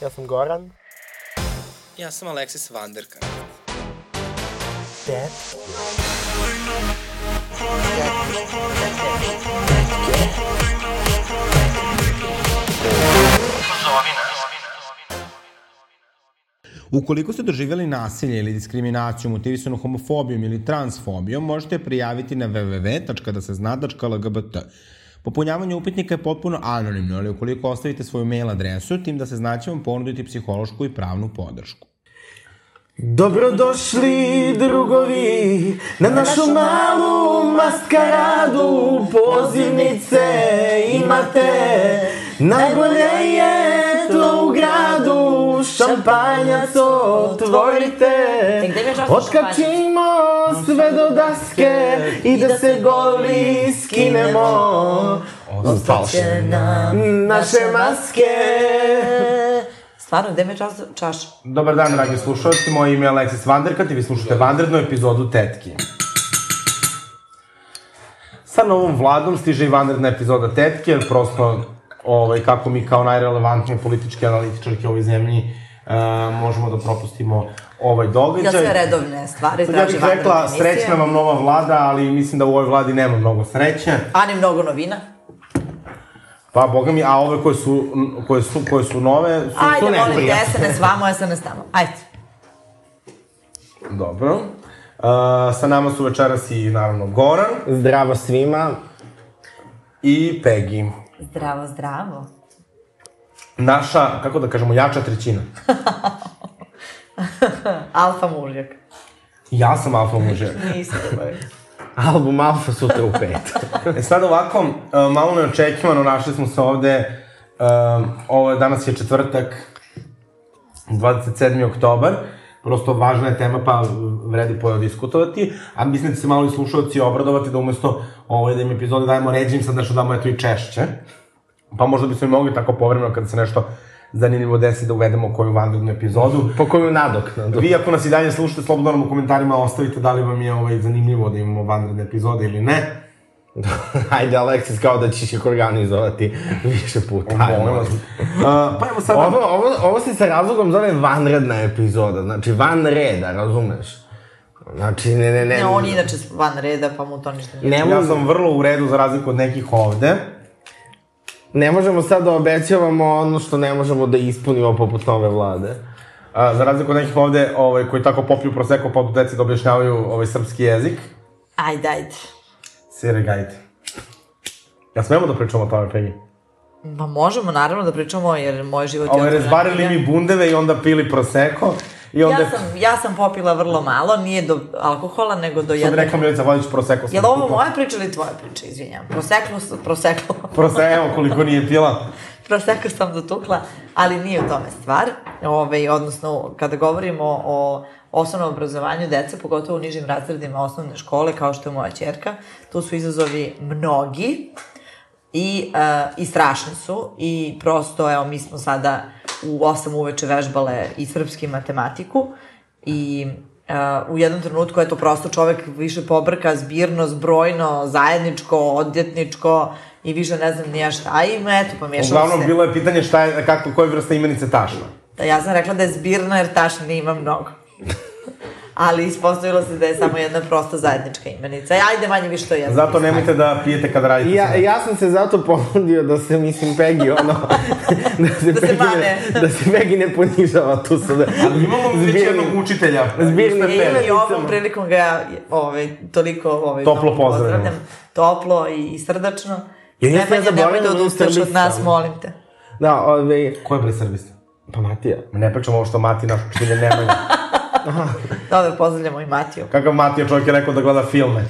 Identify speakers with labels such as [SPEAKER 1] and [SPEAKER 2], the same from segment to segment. [SPEAKER 1] Ja sam Goran.
[SPEAKER 2] Ja sam Alexis Vanderkamp.
[SPEAKER 1] Dead.
[SPEAKER 3] Ukoliko ste doživjeli nasilje ili diskriminaciju motivisanu homofobijom ili transfobijom, možete je prijaviti na www.dasezna.lgbt. Popunjavanje upitnika je potpuno anonimno, ali ukoliko ostavite svoju mail adresu, tim da se znaće vam ponuditi psihološku i pravnu podršku.
[SPEAKER 4] Dobrodošli drugovi na našu malu maskaradu Pozivnice imate Najbolje je tlo u gradu Šampanjac otvorite
[SPEAKER 5] E, gde mi je čaša
[SPEAKER 4] Otkačimo sve do daske I da se goli skinemo Ostaće nam naše maske
[SPEAKER 5] Stvarno, gde me čas, čaš?
[SPEAKER 3] Dobar dan, dragi slušalci. Moje ime je Aleksis Vanderkat i vi slušate vanrednu epizodu Tetki. Sa novom vladom stiže i vanredna epizoda Tetke, jer prosto ovaj, kako mi kao najrelevantnije političke analitičarke u ovoj zemlji e, možemo da propustimo ovaj događaj.
[SPEAKER 5] Ja sve redovne stvari
[SPEAKER 3] Sad ja
[SPEAKER 5] tražim
[SPEAKER 3] bih rekla, srećna vam nova vlada, ali mislim da u ovoj vladi nema mnogo sreće.
[SPEAKER 5] Ani mnogo novina.
[SPEAKER 3] Pa, boga mi, a ove koje su, koje su, koje su nove su, su
[SPEAKER 5] Ajde, molim te,
[SPEAKER 3] neprijatne.
[SPEAKER 5] SNS vamo, SNS tamo. Ajde.
[SPEAKER 3] Dobro. Uh, sa nama su večeras i naravno Goran
[SPEAKER 1] Zdravo svima.
[SPEAKER 3] i Peggy.
[SPEAKER 5] Zdravo, zdravo.
[SPEAKER 3] Naša, kako da kažemo, jača trećina.
[SPEAKER 5] Alfa mužjak.
[SPEAKER 3] Ja sam alfa mužer.
[SPEAKER 5] Nisam.
[SPEAKER 1] Album Alfa sutra u pet.
[SPEAKER 3] E sad ovako, uh, malo neočekivano, našli smo se ovde, uh, ovo je, danas je četvrtak, 27. oktobar, prosto važna je tema pa vredi pojao diskutovati, a mislim da će se malo i slušalci obradovati da umesto ove da im epizode dajemo ređim, sad nešto damo eto i češće. Pa možda bismo i mogli tako povremeno kada se nešto zanimljivo desi da uvedemo koju vanrednu epizodu.
[SPEAKER 1] Po koju nadoknadu.
[SPEAKER 3] Vi ako nas i dalje slušate, slobodno nam u komentarima ostavite da li vam je ovaj, zanimljivo da imamo vanredne epizode ili ne.
[SPEAKER 1] Ajde, Aleksis, kao da ćeš ih organizovati više puta. Ajmo.
[SPEAKER 3] Molim vas. A, pa evo sad...
[SPEAKER 1] Ovo, ovo, ovo se sa razlogom zove vanredna epizoda, znači van reda, razumeš? Znači, ne, ne, ne.
[SPEAKER 5] Ne, on je inače van reda, pa mu to ništa nije.
[SPEAKER 1] Ne,
[SPEAKER 3] Ja
[SPEAKER 1] mož,
[SPEAKER 3] sam vrlo u redu za razliku od nekih ovde.
[SPEAKER 1] ne možemo sad da obećavamo ono što ne možemo da ispunimo poput nove vlade.
[SPEAKER 3] A, za razliku od nekih ovde ovaj, koji tako popiju proseko pa od deci da objašnjavaju ovaj srpski jezik.
[SPEAKER 5] Ajde, ajde.
[SPEAKER 3] Sire, gajte. Ja smemo da pričamo o tome, Peggy.
[SPEAKER 5] Ma možemo naravno da pričamo, jer moj život je...
[SPEAKER 3] Ovo,
[SPEAKER 5] otvorena
[SPEAKER 3] Ovaj, razbarili
[SPEAKER 5] knjiga.
[SPEAKER 3] mi bundeve i onda pili proseko. I onda...
[SPEAKER 5] Ja sam, ja sam popila vrlo malo, nije do alkohola, nego do
[SPEAKER 3] Sad
[SPEAKER 5] jedne...
[SPEAKER 3] rekla Milica Vodić proseko. sam
[SPEAKER 5] Je li ovo
[SPEAKER 3] kupila.
[SPEAKER 5] moja priča ili tvoja priča, izvinjam? Proseklo, s- proseklo.
[SPEAKER 3] Prose, evo koliko nije pila.
[SPEAKER 5] Proseka sam dotukla, ali nije u tome stvar. Ove, odnosno, kada govorimo o osnovnom obrazovanju dece, pogotovo u nižim razredima osnovne škole, kao što je moja čerka, tu su izazovi mnogi i, e, i strašni su i prosto, evo, mi smo sada u 8 uveče vežbale i srpski matematiku i e, u jednom trenutku, eto, prosto čovek više pobrka zbirno, zbrojno, zajedničko, odjetničko i više ne znam ni ja šta i eto, pa pomiješalo se.
[SPEAKER 3] Uglavnom, bilo je pitanje šta je, kako, koje vrsta imenice tašna.
[SPEAKER 5] Da, ja sam rekla da je zbirna jer tašna ne ima mnogo. Ali ispostavilo se da je samo jedna prosta zajednička imenica. E, Ajde, manje više to je jedna.
[SPEAKER 3] Zato nemojte da pijete kad radite.
[SPEAKER 1] Ja, ja sam se zato ponudio da se, mislim, Pegi, ono, da se,
[SPEAKER 5] Da se mane.
[SPEAKER 1] ne, da se Pegi ne ponižava tu sad.
[SPEAKER 3] Ali imamo mi već
[SPEAKER 1] Zbirni.
[SPEAKER 3] jednog učitelja.
[SPEAKER 1] Zbirni
[SPEAKER 5] E, I,
[SPEAKER 1] pet.
[SPEAKER 5] I ovom prilikom ga ja ovaj, toliko ovaj,
[SPEAKER 3] Toplo
[SPEAKER 5] mnogo
[SPEAKER 3] pozdravljamo.
[SPEAKER 5] Toplo i, i srdačno.
[SPEAKER 1] Ja nisam
[SPEAKER 5] Nemanja,
[SPEAKER 1] ja zaboravila
[SPEAKER 5] nemoj da
[SPEAKER 1] da je
[SPEAKER 5] odustaš od nas,
[SPEAKER 1] srbista.
[SPEAKER 5] molim te.
[SPEAKER 1] Da, ovaj,
[SPEAKER 3] Ko je bre srbista?
[SPEAKER 1] pa Matija.
[SPEAKER 3] Ma Ne pričamo ovo što Mati naš učitelj Nemanja.
[SPEAKER 5] Dobro, pozdravljamo i Matiju.
[SPEAKER 3] Kakav Matija čovjek je rekao da gleda filme.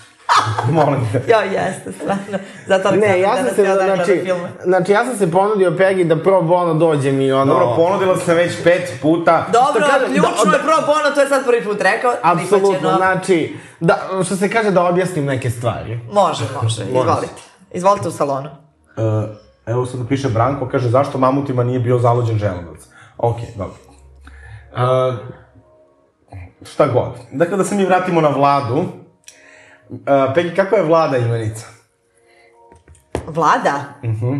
[SPEAKER 3] Molim te.
[SPEAKER 5] Jo, jeste, stvarno. Zato Aleksandar
[SPEAKER 1] Ne, ja sam
[SPEAKER 5] danas da
[SPEAKER 1] se,
[SPEAKER 5] ceo dan gleda
[SPEAKER 1] znači,
[SPEAKER 5] filme.
[SPEAKER 1] znači, ja sam se ponudio Pegi da pro bono dođem i ono...
[SPEAKER 3] Dobro, ponudila sam već pet puta.
[SPEAKER 5] Dobro,
[SPEAKER 1] Što kažem,
[SPEAKER 5] ključno
[SPEAKER 1] da-
[SPEAKER 5] je pro bono, to je sad prvi put rekao.
[SPEAKER 1] Apsolutno,
[SPEAKER 5] prihvaćeno.
[SPEAKER 1] znači, da, što se kaže da objasnim neke stvari.
[SPEAKER 5] Može, može, izvolite. Izvolite u salonu.
[SPEAKER 3] E, evo sad piše Branko, kaže zašto mamutima nije bio zaluđen želudac. Ok, dobro. E, šta god. Dakle, da se mi vratimo na vladu. E, Pegi, kako je vlada imenica?
[SPEAKER 5] Vlada? Mhm.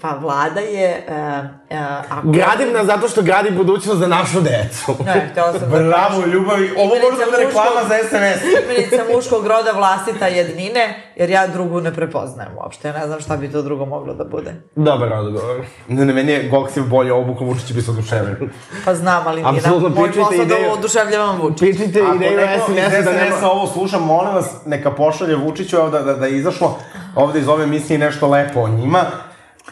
[SPEAKER 5] Pa vlada je... Uh, uh, ako...
[SPEAKER 1] Gradim nas zato što gradi budućnost za našu decu.
[SPEAKER 5] Ne, htjela sam da
[SPEAKER 3] Bravo, ljubavi, ovo
[SPEAKER 5] Imali
[SPEAKER 3] može da
[SPEAKER 5] sam
[SPEAKER 3] bude reklama
[SPEAKER 5] muškog-
[SPEAKER 3] za SNS.
[SPEAKER 5] Primenica muškog roda vlastita jednine, jer ja drugu ne prepoznajem uopšte. Ja ne znam šta bi to drugo moglo da bude.
[SPEAKER 1] Dobar odgovor.
[SPEAKER 3] Ne, ne, meni je Goksiv bolje, ovo Vuka Vučić bi se oduševio.
[SPEAKER 5] Pa znam, ali nije
[SPEAKER 1] Apsolutno,
[SPEAKER 5] nam moj
[SPEAKER 1] pričajte
[SPEAKER 5] posao da
[SPEAKER 1] ideju.
[SPEAKER 5] oduševljavam Vučić.
[SPEAKER 1] Pičite
[SPEAKER 3] Ako
[SPEAKER 1] ideju
[SPEAKER 3] neko iz
[SPEAKER 1] SNS-a da nema...
[SPEAKER 3] SNS-a ovo sluša, molim vas, neka pošalje Vučiću, evo da, da, da je izašlo ovde iz ove emisije nešto lepo o njima,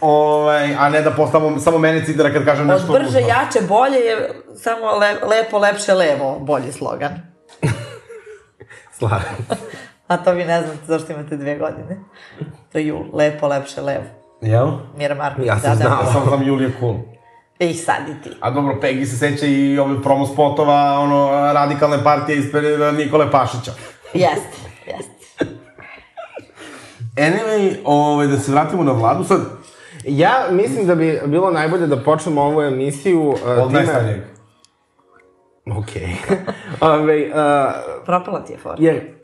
[SPEAKER 3] ovaj, a ne da postavamo samo mene cidera kad kažem
[SPEAKER 5] Od
[SPEAKER 3] nešto
[SPEAKER 5] brže,
[SPEAKER 3] ružno.
[SPEAKER 5] jače, bolje je samo le, lepo, lepše, levo, bolji slogan.
[SPEAKER 1] Slažem.
[SPEAKER 5] A to vi ne znate zašto imate dve godine. To je jul, lepo, lepše, levo.
[SPEAKER 3] Jel?
[SPEAKER 5] Mira Marković,
[SPEAKER 1] Ja sam
[SPEAKER 5] da, da.
[SPEAKER 1] znao.
[SPEAKER 3] Ja sam znam Julija Cool.
[SPEAKER 5] E, I sad i ti.
[SPEAKER 3] A dobro, Peggy se seća i ovih promo spotova, ono, radikalne partije ispred e, Nikole Pašića.
[SPEAKER 5] Jeste, jeste.
[SPEAKER 3] Anyway, ovaj, da se vratimo na vladu sad.
[SPEAKER 1] Ja mislim da bi bilo najbolje da počnemo ovu emisiju... Uh,
[SPEAKER 3] Od najstarijeg.
[SPEAKER 1] Okej. Ove, uh,
[SPEAKER 5] Propala ti je forma.
[SPEAKER 1] jer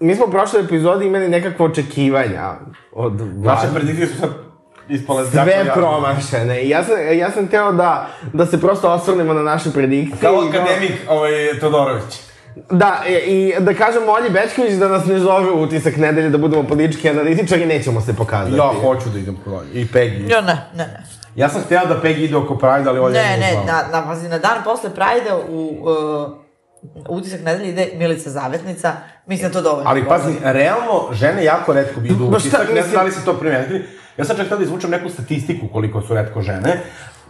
[SPEAKER 1] mi smo u prošloj epizodi imali nekakve očekivanja od
[SPEAKER 3] Vaše
[SPEAKER 1] vlade.
[SPEAKER 3] predikcije su sad ispale
[SPEAKER 1] Sve
[SPEAKER 3] jako jadne.
[SPEAKER 1] promašene. I Ja sam, ja sam teo da, da se prosto osvrnemo na naše predikcije.
[SPEAKER 3] Kao
[SPEAKER 1] i
[SPEAKER 3] akademik ovaj, Todorović.
[SPEAKER 1] Da, i, i da kažem Olji Bečković da nas ne zove u utisak nedelje, da budemo politički analitičari, nećemo se pokazati.
[SPEAKER 3] Ja hoću da idem kod Olje. I Peggy.
[SPEAKER 5] Jo, ne, ne, ne.
[SPEAKER 3] Ja sam hteo da Peggy ide oko Pride, ali Olja
[SPEAKER 5] Ne,
[SPEAKER 3] nije
[SPEAKER 5] ne, da.
[SPEAKER 3] znala.
[SPEAKER 5] na, na, pazi, na dan posle Prajda u uh, utisak nedelje ide Milica Zavetnica. Mislim da to dovoljno.
[SPEAKER 3] Ali
[SPEAKER 5] govori.
[SPEAKER 3] pazi, realno, žene jako redko bi idu u
[SPEAKER 1] Ma šta,
[SPEAKER 3] utisak, ne znam
[SPEAKER 1] mislim-
[SPEAKER 3] da li ste to primetili. Ja sam čak tada izvučem neku statistiku koliko su redko žene.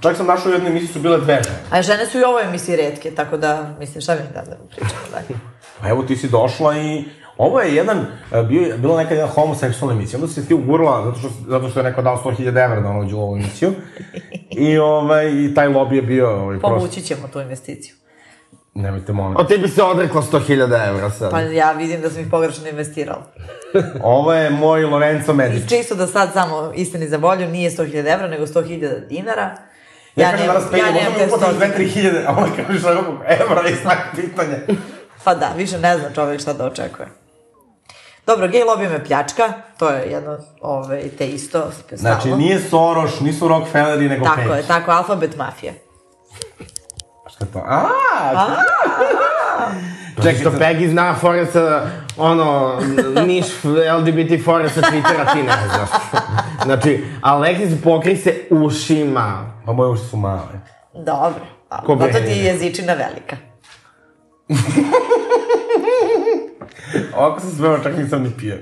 [SPEAKER 3] Čak sam našao u jednoj emisiji su bile dve žene.
[SPEAKER 5] A žene su i u ovoj emisiji redke, tako da, mislim, šta mi da da pričamo dalje.
[SPEAKER 3] Pa evo ti si došla i... Ovo je jedan, e, bio, bila nekad jedna homoseksualna emisija, onda si se ti ugurla zato što, zato što je neko dao 100.000 evra da ono uđe u ovu emisiju. I, ovaj, i taj lobby je bio... Ovaj, prosto,
[SPEAKER 5] Povući ćemo tu investiciju.
[SPEAKER 3] nemojte molim.
[SPEAKER 1] Od tebi se odreklo 100.000 evra sad.
[SPEAKER 5] Pa ja vidim da sam ih pogrešno investirala.
[SPEAKER 3] Ovo je moj Lorenzo Medici.
[SPEAKER 5] I čisto da sad samo istini za volju, nije 100.000 evra, nego 100.000 dinara.
[SPEAKER 3] Ja, kažem da danas pegam, možda mi upotiš
[SPEAKER 5] 100.000.
[SPEAKER 3] 2-3 hiljade, a onda kažeš na ruku, evra i znak pitanje.
[SPEAKER 5] Pa da, više ne zna čovjek šta da očekuje. Dobro, gej lobby me pljačka, to je jedno ove, te isto stalno.
[SPEAKER 3] Znači, nije Soros, nisu Rockefelleri, nego
[SPEAKER 5] Tako
[SPEAKER 3] Peggy.
[SPEAKER 5] je, tako, alfabet mafije.
[SPEAKER 3] Šta je to? Aaaa! Čekaj,
[SPEAKER 1] Znači, Što
[SPEAKER 3] sad-
[SPEAKER 1] Peggy zna fore sa, ono, niš LGBT fore sa Twittera, ti ne znaš. Znači, Alexis pokri se ušima.
[SPEAKER 3] Pa moje uši su male.
[SPEAKER 5] Dobro,
[SPEAKER 1] Ko
[SPEAKER 5] ali zato ti
[SPEAKER 1] Benjamin.
[SPEAKER 5] je jezičina velika.
[SPEAKER 3] Ovako se smeo, čak nisam ni pio.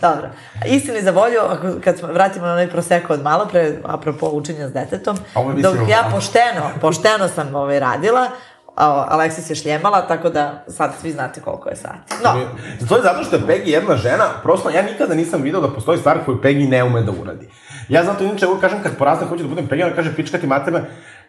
[SPEAKER 5] Dobro. Istini za volju, ako, kad smo, vratimo na onaj proseko od malo pre, apropo učenja s detetom,
[SPEAKER 3] A ovo je
[SPEAKER 5] dok
[SPEAKER 3] mislim-
[SPEAKER 5] ja pošteno, pošteno sam ovaj, radila, a Aleksis je šljemala, tako da sad svi znate koliko je sati. No,
[SPEAKER 3] Da. To je zato što je Peggy jedna žena, prosto ja nikada nisam video da postoji stvar koju Peggy ne ume da uradi. Ja zato inače uvijek kažem kad porastem hoću da budem Peggy, ona kaže pička ti materna,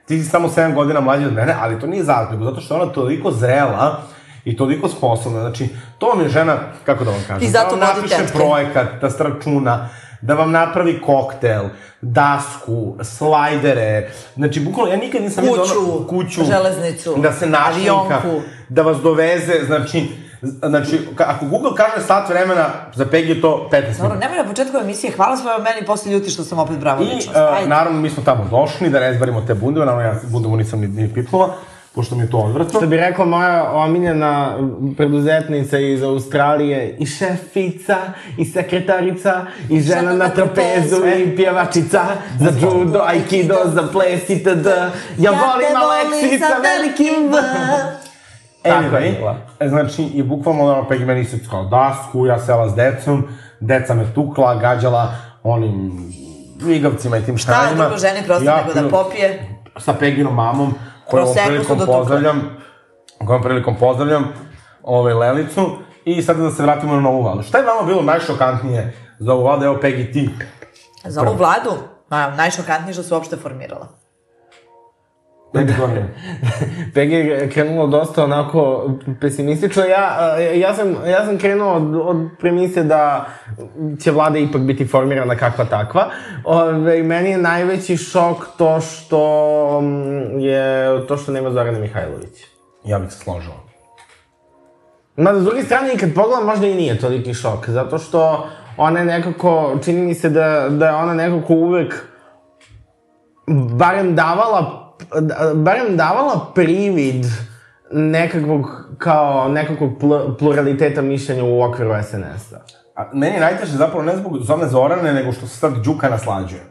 [SPEAKER 3] ti si samo 7 godina mlađa od mene, ali to nije zato, nego zato što je ona toliko zrela i toliko sposobna. Znači, to vam je žena, kako da vam kažem,
[SPEAKER 5] I zato
[SPEAKER 3] da vam
[SPEAKER 5] vodi
[SPEAKER 3] napiše
[SPEAKER 5] tečke.
[SPEAKER 3] projekat, da stračuna, da vam napravi koktel, dasku, slajdere, znači bukvalno ja nikad nisam vidio ono,
[SPEAKER 5] Kuću,
[SPEAKER 3] kuću,
[SPEAKER 5] železnicu,
[SPEAKER 3] da se našinka,
[SPEAKER 5] avionku.
[SPEAKER 3] da vas doveze, znači, znači, ka- ako Google kaže sat vremena, za Peggy je to 15
[SPEAKER 5] dobro,
[SPEAKER 3] minuta.
[SPEAKER 5] nemoj na početku emisije, hvala svoje meni, posle ljuti što sam opet bravo
[SPEAKER 3] I,
[SPEAKER 5] ličnost.
[SPEAKER 3] uh,
[SPEAKER 5] Ajde.
[SPEAKER 3] naravno, mi smo tamo došli, da ne zbarimo te bundeve, naravno, ja bundevu nisam ni, ni pipnula, pošto mi je to odvratno.
[SPEAKER 1] Što bi rekla moja omiljena preduzetnica iz Australije, i šefica, i sekretarica, i žena na trapezu, i pjevačica, za judo, aikido, za ples, itd. Ja volim da Alexisa velikim V.
[SPEAKER 3] Tako
[SPEAKER 1] je
[SPEAKER 3] je
[SPEAKER 1] bila.
[SPEAKER 3] E, Znači, i bukvalno, ono, Peggy meni se kao dasku, ja sela s decom, deca me tukla, gađala onim igavcima i tim
[SPEAKER 5] Šta je
[SPEAKER 3] štanjima.
[SPEAKER 5] drugo ženi prosto
[SPEAKER 3] Ja
[SPEAKER 5] nego da
[SPEAKER 3] pio-
[SPEAKER 5] popije?
[SPEAKER 3] sa Peginom mamom, koju ovom
[SPEAKER 5] Prosecco su
[SPEAKER 3] prilikom
[SPEAKER 5] dotukle.
[SPEAKER 3] pozdravljam, kojom prilikom pozdravljam ovaj Lelicu i sad da se vratimo na novu vladu. Šta je vama bilo najšokantnije za ovu vladu? Evo Pegi ti.
[SPEAKER 5] Za ovu vladu, ma, najšokantnije što se uopšte formirala.
[SPEAKER 3] Pegi Gornje.
[SPEAKER 1] Peggy je krenulo dosta onako pesimistično. Ja, e, ja, sam, ja sam krenuo od, od premise da će vlada ipak biti formirana kakva takva. Ove, meni je najveći šok to što mm, je to što nema Zorana Mihajlović.
[SPEAKER 3] Ja bih se složila.
[SPEAKER 1] Ma, s druge strane, i kad pogledam, možda i nije toliki šok, zato što ona je nekako, čini mi se da, da je ona nekako uvek barem davala, barem davala privid nekakvog, kao nekakvog pl pluraliteta mišljenja u okviru SNS-a.
[SPEAKER 3] A meni je najteže zapravo ne zbog Zone Zorane, nego što se sad Đuka naslađuje.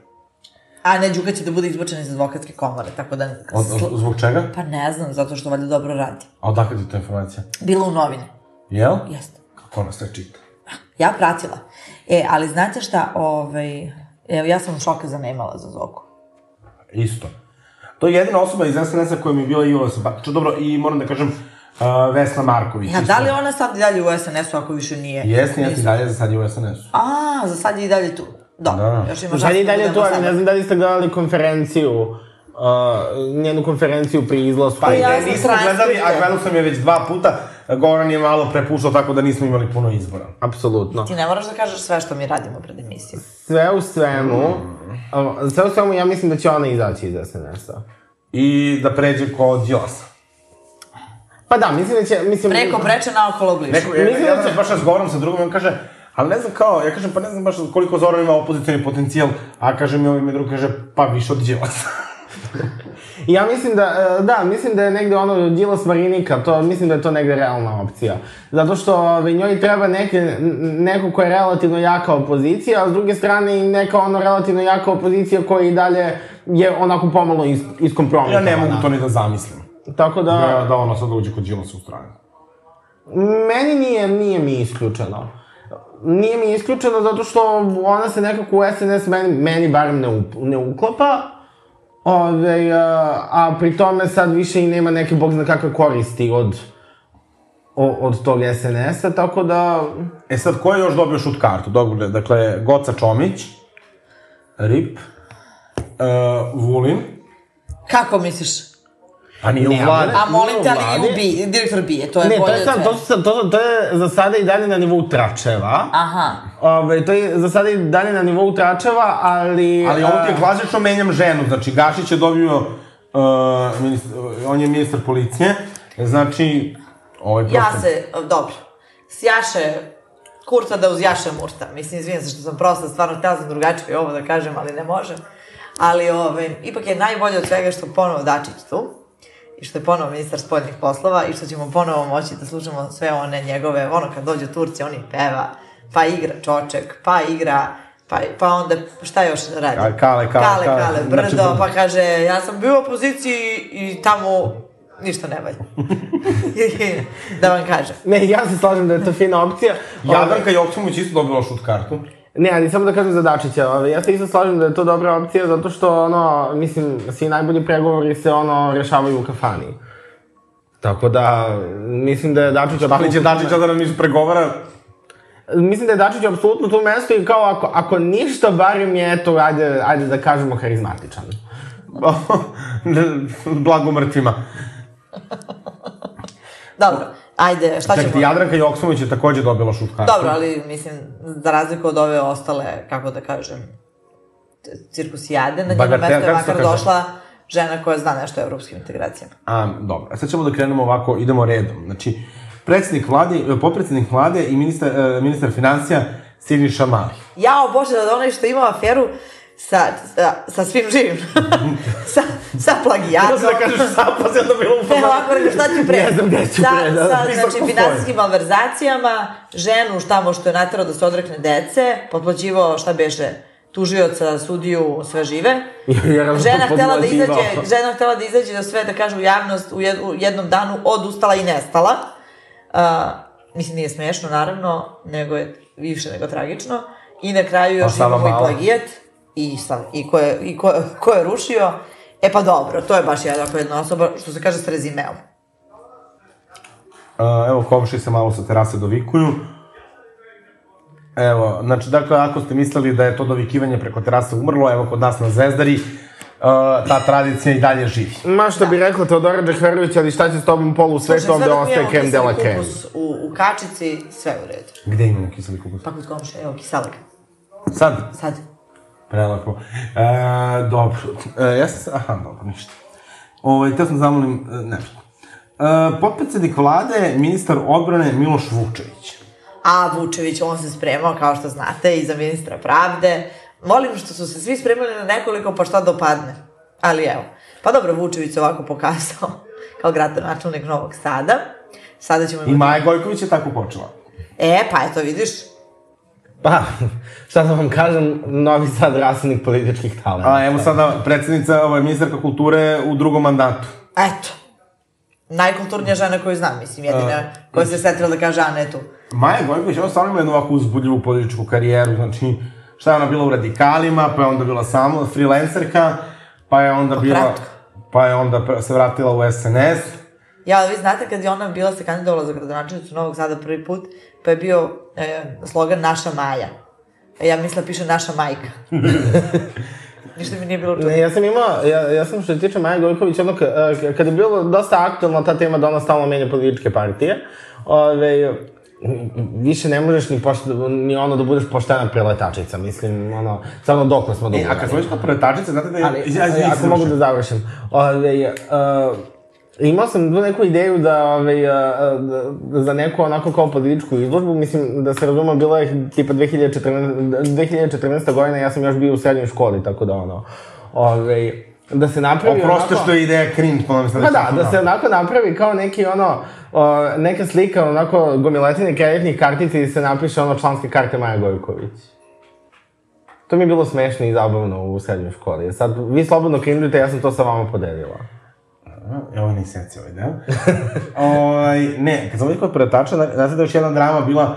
[SPEAKER 5] A ne, Đuka će da bude izbačena iz advokatske komore, tako da...
[SPEAKER 3] Od, od, zbog čega?
[SPEAKER 5] Pa ne znam, zato što valjda dobro radi.
[SPEAKER 3] A odakle ti to informacija?
[SPEAKER 5] Bila u novine.
[SPEAKER 3] Jel?
[SPEAKER 5] Jeste.
[SPEAKER 3] Kako ona sve čita?
[SPEAKER 5] Ja pratila. E, ali znate šta, ovaj... Evo, ja sam u šoka zanimala za Zoku.
[SPEAKER 3] Isto. To je jedina osoba iz SNS-a koja mi je bila i ovo simpatična. Dobro, i moram da kažem, uh, Vesna Marković.
[SPEAKER 5] Ja, da li ona sad i dalje u SNS-u ako više nije?
[SPEAKER 3] Jesni, ja ti
[SPEAKER 1] da-
[SPEAKER 3] dalje za sad je u SNS-u.
[SPEAKER 5] A, za sad je i dalje tu. Da,
[SPEAKER 3] Da.
[SPEAKER 5] da. još ima
[SPEAKER 1] Sad
[SPEAKER 5] šanse
[SPEAKER 1] je i
[SPEAKER 5] da
[SPEAKER 1] dalje
[SPEAKER 5] budemo
[SPEAKER 1] tu, ali
[SPEAKER 5] sada.
[SPEAKER 1] ne znam da li ste gledali konferenciju, uh, njenu konferenciju pri izlasku.
[SPEAKER 5] Pa ja
[SPEAKER 3] Ne,
[SPEAKER 5] sam
[SPEAKER 3] nismo gledali, a
[SPEAKER 5] transkriptira.
[SPEAKER 3] gledao sam je već dva puta. Goran je malo prepuštao, tako da nismo imali puno izbora.
[SPEAKER 1] Apsolutno.
[SPEAKER 5] Ti ne moraš da kažeš sve što mi radimo pred emisijom.
[SPEAKER 1] Sve u svemu,
[SPEAKER 5] Mm.
[SPEAKER 1] uh, sve u svemu ja mislim da će ona izaći iz SNS-a.
[SPEAKER 3] I da pređe kod Đilasa.
[SPEAKER 1] Pa da, mislim da će, mislim...
[SPEAKER 5] Preko preče naokolo bliže.
[SPEAKER 3] Neko, ja, ja, ja sam baš razgovaram sa drugom i on kaže, ali ne znam kao, ja kažem, pa ne znam baš koliko Zoran ima opozicijani potencijal, a kaže mi ovaj mi drug, kaže, pa više od Đilasa.
[SPEAKER 1] Ja mislim da, e, da, mislim da je negde ono Đilas Marinika, to, mislim da je to negde realna opcija. Zato što ove, njoj treba neke, n- neko ko je relativno jaka opozicija, a s druge strane i neka ono relativno jaka opozicija koja i dalje je onako pomalo is,
[SPEAKER 3] Ja
[SPEAKER 1] iskompromitovana.
[SPEAKER 3] ne mogu to ni da zamislim.
[SPEAKER 1] Tako da,
[SPEAKER 3] Da, da ono sad uđe kod Đilasa u stranu.
[SPEAKER 1] meni nije, nije mi isključeno. Nije mi isključeno zato što ona se nekako u SNS meni, meni barem ne, up, ne uklapa. Ove, a, a pri tome sad više i nema neke bog zna kakve koristi od, o- od tog SNS-a, tako da...
[SPEAKER 3] E sad, ko je još dobio šut kartu? Dobro, dakle, Goca Čomić, Rip, uh, Vulin,
[SPEAKER 5] Kako misliš?
[SPEAKER 3] a Pa nije u
[SPEAKER 1] Ne,
[SPEAKER 3] vlade.
[SPEAKER 5] A molim te, ali
[SPEAKER 1] Vlade-
[SPEAKER 5] nije ubi, direktor bije, to je
[SPEAKER 1] Ne, to
[SPEAKER 5] bolje
[SPEAKER 1] je,
[SPEAKER 5] od
[SPEAKER 1] sad, to,
[SPEAKER 5] svega.
[SPEAKER 1] su sad, to, su- to je za sada i dalje na nivou tračeva.
[SPEAKER 5] Aha.
[SPEAKER 1] Ove, to je za sada i dalje na nivou tračeva, ali...
[SPEAKER 3] Ali ovo ti je
[SPEAKER 1] a,
[SPEAKER 3] klasično menjam ženu, znači Gašić je dobio, uh, ministar, on je ministar policije, znači, ovaj
[SPEAKER 5] Ja se, e, dobro, sjaše kurta da uzjaše murta. Mislim, izvinim se što sam prosta, stvarno htjela sam drugačije ovo da kažem, ali ne možem. Ali, ove, ipak je najbolje od svega što je ponovo Dačić tu i što je ponovo ministar spoljnih poslova i što ćemo ponovo moći da slušamo sve one njegove, ono kad dođu Turci, on i peva, pa igra čoček, pa igra, pa, pa onda šta još radi?
[SPEAKER 3] Kale, kale, kale,
[SPEAKER 5] kale,
[SPEAKER 3] kale.
[SPEAKER 5] kale brdo,
[SPEAKER 3] Znači,
[SPEAKER 5] pa kaže, ja sam bio u opoziciji i tamo ništa ne valja. da vam kažem.
[SPEAKER 1] Ne, ja se slažem da je to fina opcija. ovaj, Ove,
[SPEAKER 3] Jadranka Joksimović isto dobila šut kartu.
[SPEAKER 1] Ne, ali samo da kažem za Dačića, ovaj, ja se isto slažem da je to dobra opcija zato što, ono, mislim, svi najbolji pregovori se, ono, rešavaju u kafani. Tako da, mislim da je Dačić...
[SPEAKER 3] Ali će Dačić da nam nisu pregovara,
[SPEAKER 1] Mislim da je Dačić apsolutno tu mesto i kao ako, ako ništa, barem je, eto, ajde, ajde da kažemo, harizmatičan.
[SPEAKER 3] blago mrtvima.
[SPEAKER 5] Dobro, ajde, šta
[SPEAKER 3] Čekajte,
[SPEAKER 5] ćemo?
[SPEAKER 3] Jadranka Joksimović je takođe dobila šut kartu.
[SPEAKER 5] Dobro, ali mislim, za razliku od ove ostale, kako da kažem, c- cirkusijade, na njeno
[SPEAKER 3] Bagatel,
[SPEAKER 5] mesto je
[SPEAKER 3] da, kako se
[SPEAKER 5] makar
[SPEAKER 3] kaže?
[SPEAKER 5] došla žena koja zna nešto o evropskim integracijama.
[SPEAKER 3] A, dobro, a sad ćemo da krenemo ovako, idemo redom. Znači, predsednik vlade, e, potpredsednik vlade i ministar, e, ministar financija Siniša Mali.
[SPEAKER 5] Jao Bože, da onaj što ima aferu sa, sa, sa svim živim. sa, sa plagijatom.
[SPEAKER 3] kažeš zapas, ja da bilo u
[SPEAKER 5] Ne, ovako nego šta ću pre?
[SPEAKER 1] Ne znam gde ću pre, da.
[SPEAKER 5] Sa, sa
[SPEAKER 3] Pisao ko
[SPEAKER 5] znači,
[SPEAKER 3] svoje.
[SPEAKER 5] finansijskim malverzacijama, ženu šta mu što je naterao da se odrekne dece, potplaćivao šta beše, tužioca, sudiju, sve žive. žena htela da izađe, žena htela da izađe da sve da kaže u javnost u, jed, u jednom danu odustala i nestala. Uh, mislim nije smešno naravno, nego je više nego tragično. I na kraju
[SPEAKER 1] Pa
[SPEAKER 5] još
[SPEAKER 3] Sava
[SPEAKER 5] imamo i
[SPEAKER 3] Mala.
[SPEAKER 5] plagijat i, sam, i, ko je, i ko, ko je rušio. E pa dobro, to je baš jedna, ako jedna osoba, što se kaže, s rezimeom.
[SPEAKER 3] Uh, evo, komši se malo sa terase dovikuju. Evo, znači, dakle, ako ste mislili da je to dovikivanje preko terase umrlo, evo, kod nas na Zvezdari, uh, ta tradicija i dalje živi.
[SPEAKER 1] Ma što bi rekla Teodora Džekverović, ali šta će s tobom polu sve
[SPEAKER 5] Da. Slušaj,
[SPEAKER 1] to ovde
[SPEAKER 5] sve dok mi imamo
[SPEAKER 1] ostaje krem
[SPEAKER 5] kiseli
[SPEAKER 1] dela krem.
[SPEAKER 5] kupus U, u kačici, sve u redu.
[SPEAKER 3] Gde imamo kiseli kupus?
[SPEAKER 5] Pa kod komše, evo, kiselak.
[SPEAKER 3] Sad,
[SPEAKER 5] Sad,
[SPEAKER 3] prelepo. E, dobro, e, ja sam se, aha, dobro, ništa. Ovo, te sam da zamolim, e, nešto. E, potpredsednik vlade, ministar odbrane Miloš Vučević.
[SPEAKER 5] a Vučević, on se spremao, kao što znate, i za ministra pravde. Volim što su se svi spremili na nekoliko, pa šta dopadne. Ali evo, pa dobro, Vučević se ovako pokazao kao gradonačelnik Novog Sada. Sada ćemo
[SPEAKER 3] I
[SPEAKER 5] imati...
[SPEAKER 3] Maja Gojković je tako počela.
[SPEAKER 5] E, pa eto, vidiš,
[SPEAKER 1] Pa, šta da vam kažem, novi sad rasadnik političkih talenta.
[SPEAKER 3] A evo sada predsednica, ovaj, ministarka kulture u drugom mandatu.
[SPEAKER 5] eto. Najkulturnija žena koju znam, mislim, jedina koja se setila da kaže Ana je tu.
[SPEAKER 3] Maja Gojković, ona stvarno ima jednu ovako uzbudljivu političku karijeru, znači šta je ona bila u radikalima, pa je onda bila samo freelancerka, pa je onda bila...
[SPEAKER 5] kratko.
[SPEAKER 3] Pa je onda pre- se vratila u SNS.
[SPEAKER 5] Ja, ali vi znate kad je ona bila se kandidovala za gradonačelnicu Novog Sada prvi put, pa je bio e, slogan Naša Maja. E, ja mislila piše Naša majka. Ništa mi nije bilo čudno.
[SPEAKER 1] Ne, ja sam imao, ja, ja sam što se tiče Maja Gojković, ono, k- e, kada je bilo dosta aktualna ta tema da ona stalno menja političke partije, ove, m, više ne možeš ni, pošta, ni ono da budeš poštena preletačica, mislim, ono, samo dokle smo dobro.
[SPEAKER 3] E, A kad smo već kod preletačice, znate da je...
[SPEAKER 1] Ali, ali ako mogu da završim. Ove, uh, imao sam tu neku ideju da, ove, uh, da, za neku onako kao političku izložbu, mislim, da se razumem, bila je tipa 2014, 2014. godina, ja sam još bio u srednjoj školi, tako da ono, ove, da se napravi
[SPEAKER 3] Oproste što je ideja cringe, po nam sad.
[SPEAKER 1] Pa da, da se onako napravi kao neki ono, o, neka slika onako gomiletine kreditnih kartica i se napiše ono članske karte Maja Gojković. To mi je bilo smešno i zabavno u srednjoj školi. Sad, vi slobodno krimljujte, ja sam to sa vama podelila.
[SPEAKER 3] Evo nisam ja cijeli deo. da? ovaj, ne, kad sam ovdje kod preletača, zna- znate da je još jedna drama bila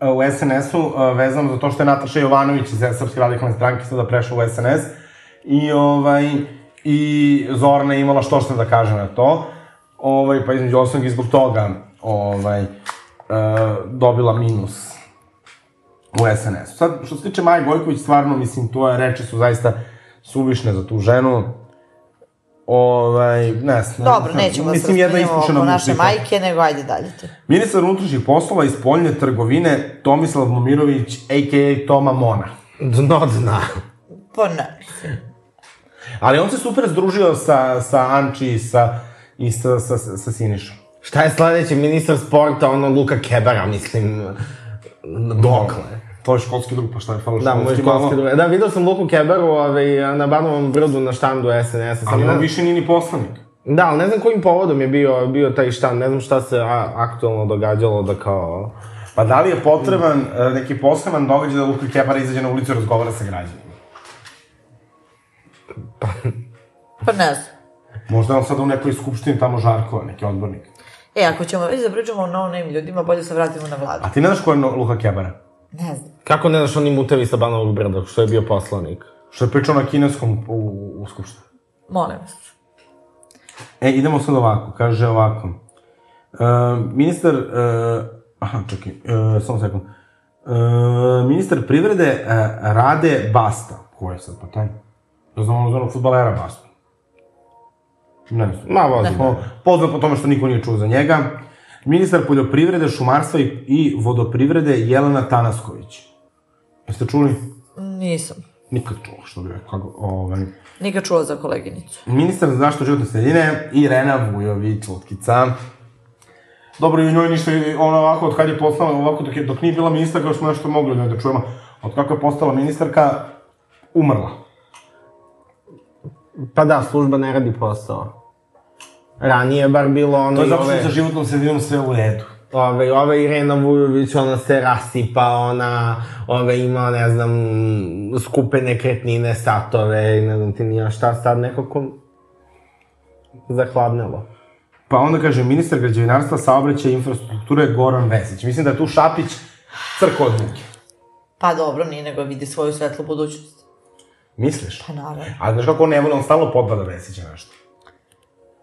[SPEAKER 3] e, u SNS-u e, vezano za to što je Nataša Jovanović iz Srpske radikalne stranke sada prešla u SNS i ovaj i Zorna je imala što što da kaže na to. Ovaj, pa između osnovnog i zbog toga ovaj, e, dobila minus u SNS. Sad, što se tiče Maje Gojković, stvarno, mislim, tvoje reči su zaista suvišne za tu ženu. Ovaj, ne znam.
[SPEAKER 5] Dobro,
[SPEAKER 3] ne,
[SPEAKER 5] nećemo da se
[SPEAKER 3] mislim, jedna
[SPEAKER 5] raspravljamo
[SPEAKER 3] iskušena
[SPEAKER 5] oko naše
[SPEAKER 3] mušnika.
[SPEAKER 5] majke, nego ajde dalje ti.
[SPEAKER 3] Ministar unutrašnjih poslova i spoljne trgovine Tomislav Momirović, a.k.a. Toma Mona.
[SPEAKER 1] Dno dna.
[SPEAKER 5] Pa ne.
[SPEAKER 3] Ali on se super združio sa, sa Anči i sa, i sa, sa, sa, sa Sinišom.
[SPEAKER 1] Šta je sledeći ministar sporta, ono Luka Kebara, mislim, dokle?
[SPEAKER 3] To je školski drug, pa šta je falo
[SPEAKER 1] Da, moj
[SPEAKER 3] školski
[SPEAKER 1] školski
[SPEAKER 3] malo.
[SPEAKER 1] drugar. Da, vidio sam Luku Keberu ovaj, na Banovom brdu na štandu SNS-a.
[SPEAKER 3] Ali
[SPEAKER 1] Samo
[SPEAKER 3] on
[SPEAKER 1] ne,
[SPEAKER 3] više nije ni poslanik.
[SPEAKER 1] Da, ali ne znam kojim povodom je bio, bio taj štan, ne znam šta se a, aktualno događalo da kao...
[SPEAKER 3] Pa da li je potreban e, neki poseban događaj da Luka Kebara izađe na ulicu i razgovara sa građanima?
[SPEAKER 5] Pa ne znam.
[SPEAKER 3] Možda je on sad u nekoj skupštini tamo Žarkova, neki odbornik.
[SPEAKER 5] E, ako ćemo već da pričamo o no-name ljudima, bolje se vratimo na vladu.
[SPEAKER 3] A ti ne znaš ko je no- Luka Kebara?
[SPEAKER 5] Ne znam.
[SPEAKER 1] Kako ne znaš oni mutavi sa Banovog brda, što je bio poslanik?
[SPEAKER 3] Što je pričao na kineskom u, u, u skupštini.
[SPEAKER 5] Molim vas.
[SPEAKER 3] E, idemo sad ovako, kaže ovako. E, ministar, e, aha, čekaj, e, samo sekund. E, ministar privrede e, Rade Basta. Ko je sad pa taj? Ja znam ono zvanog futbalera Basta. Ne znam.
[SPEAKER 1] Ma, vozi. da.
[SPEAKER 3] Po, poznat po tome što niko nije čuo za njega. Ministar poljoprivrede, šumarstva i, i vodoprivrede Jelena Tanasković. Jeste čuli?
[SPEAKER 5] Nisam.
[SPEAKER 3] Nikad čuo, što bi rekao. Ovaj.
[SPEAKER 5] Nikad čula za koleginicu.
[SPEAKER 3] Ministar za zaštitu životne sredine Irena Vujović, lutkica. Dobro, i u njoj ništa, Znači, ona ovako, od kad je postala, ovako, dok, je, dok nije bila ministarka, još smo nešto mogli od nje da čujemo. Od kako je postala ministarka, umrla.
[SPEAKER 1] Pa da, služba ne radi posao. Ranije je bar bilo ono
[SPEAKER 3] To je
[SPEAKER 1] i
[SPEAKER 3] zato što
[SPEAKER 1] ove,
[SPEAKER 3] je sa životnom sredinom sve u redu.
[SPEAKER 1] ove, ove Irena Vujović, ona se rasipa, ona ove, ima, ne znam, skupe nekretnine, satove, i ne znam ti nija šta, sad nekako zahladnelo.
[SPEAKER 3] Pa onda kaže, ministar građevinarstva, saobraćaja i infrastrukture Goran Vesić. Mislim da je tu Šapić crko od muke.
[SPEAKER 5] Pa dobro, nije nego vidi svoju svetlu budućnost.
[SPEAKER 3] Misliš?
[SPEAKER 5] Pa naravno.
[SPEAKER 3] A znaš kako on ne voli, on stalno podbada Vesića nešto.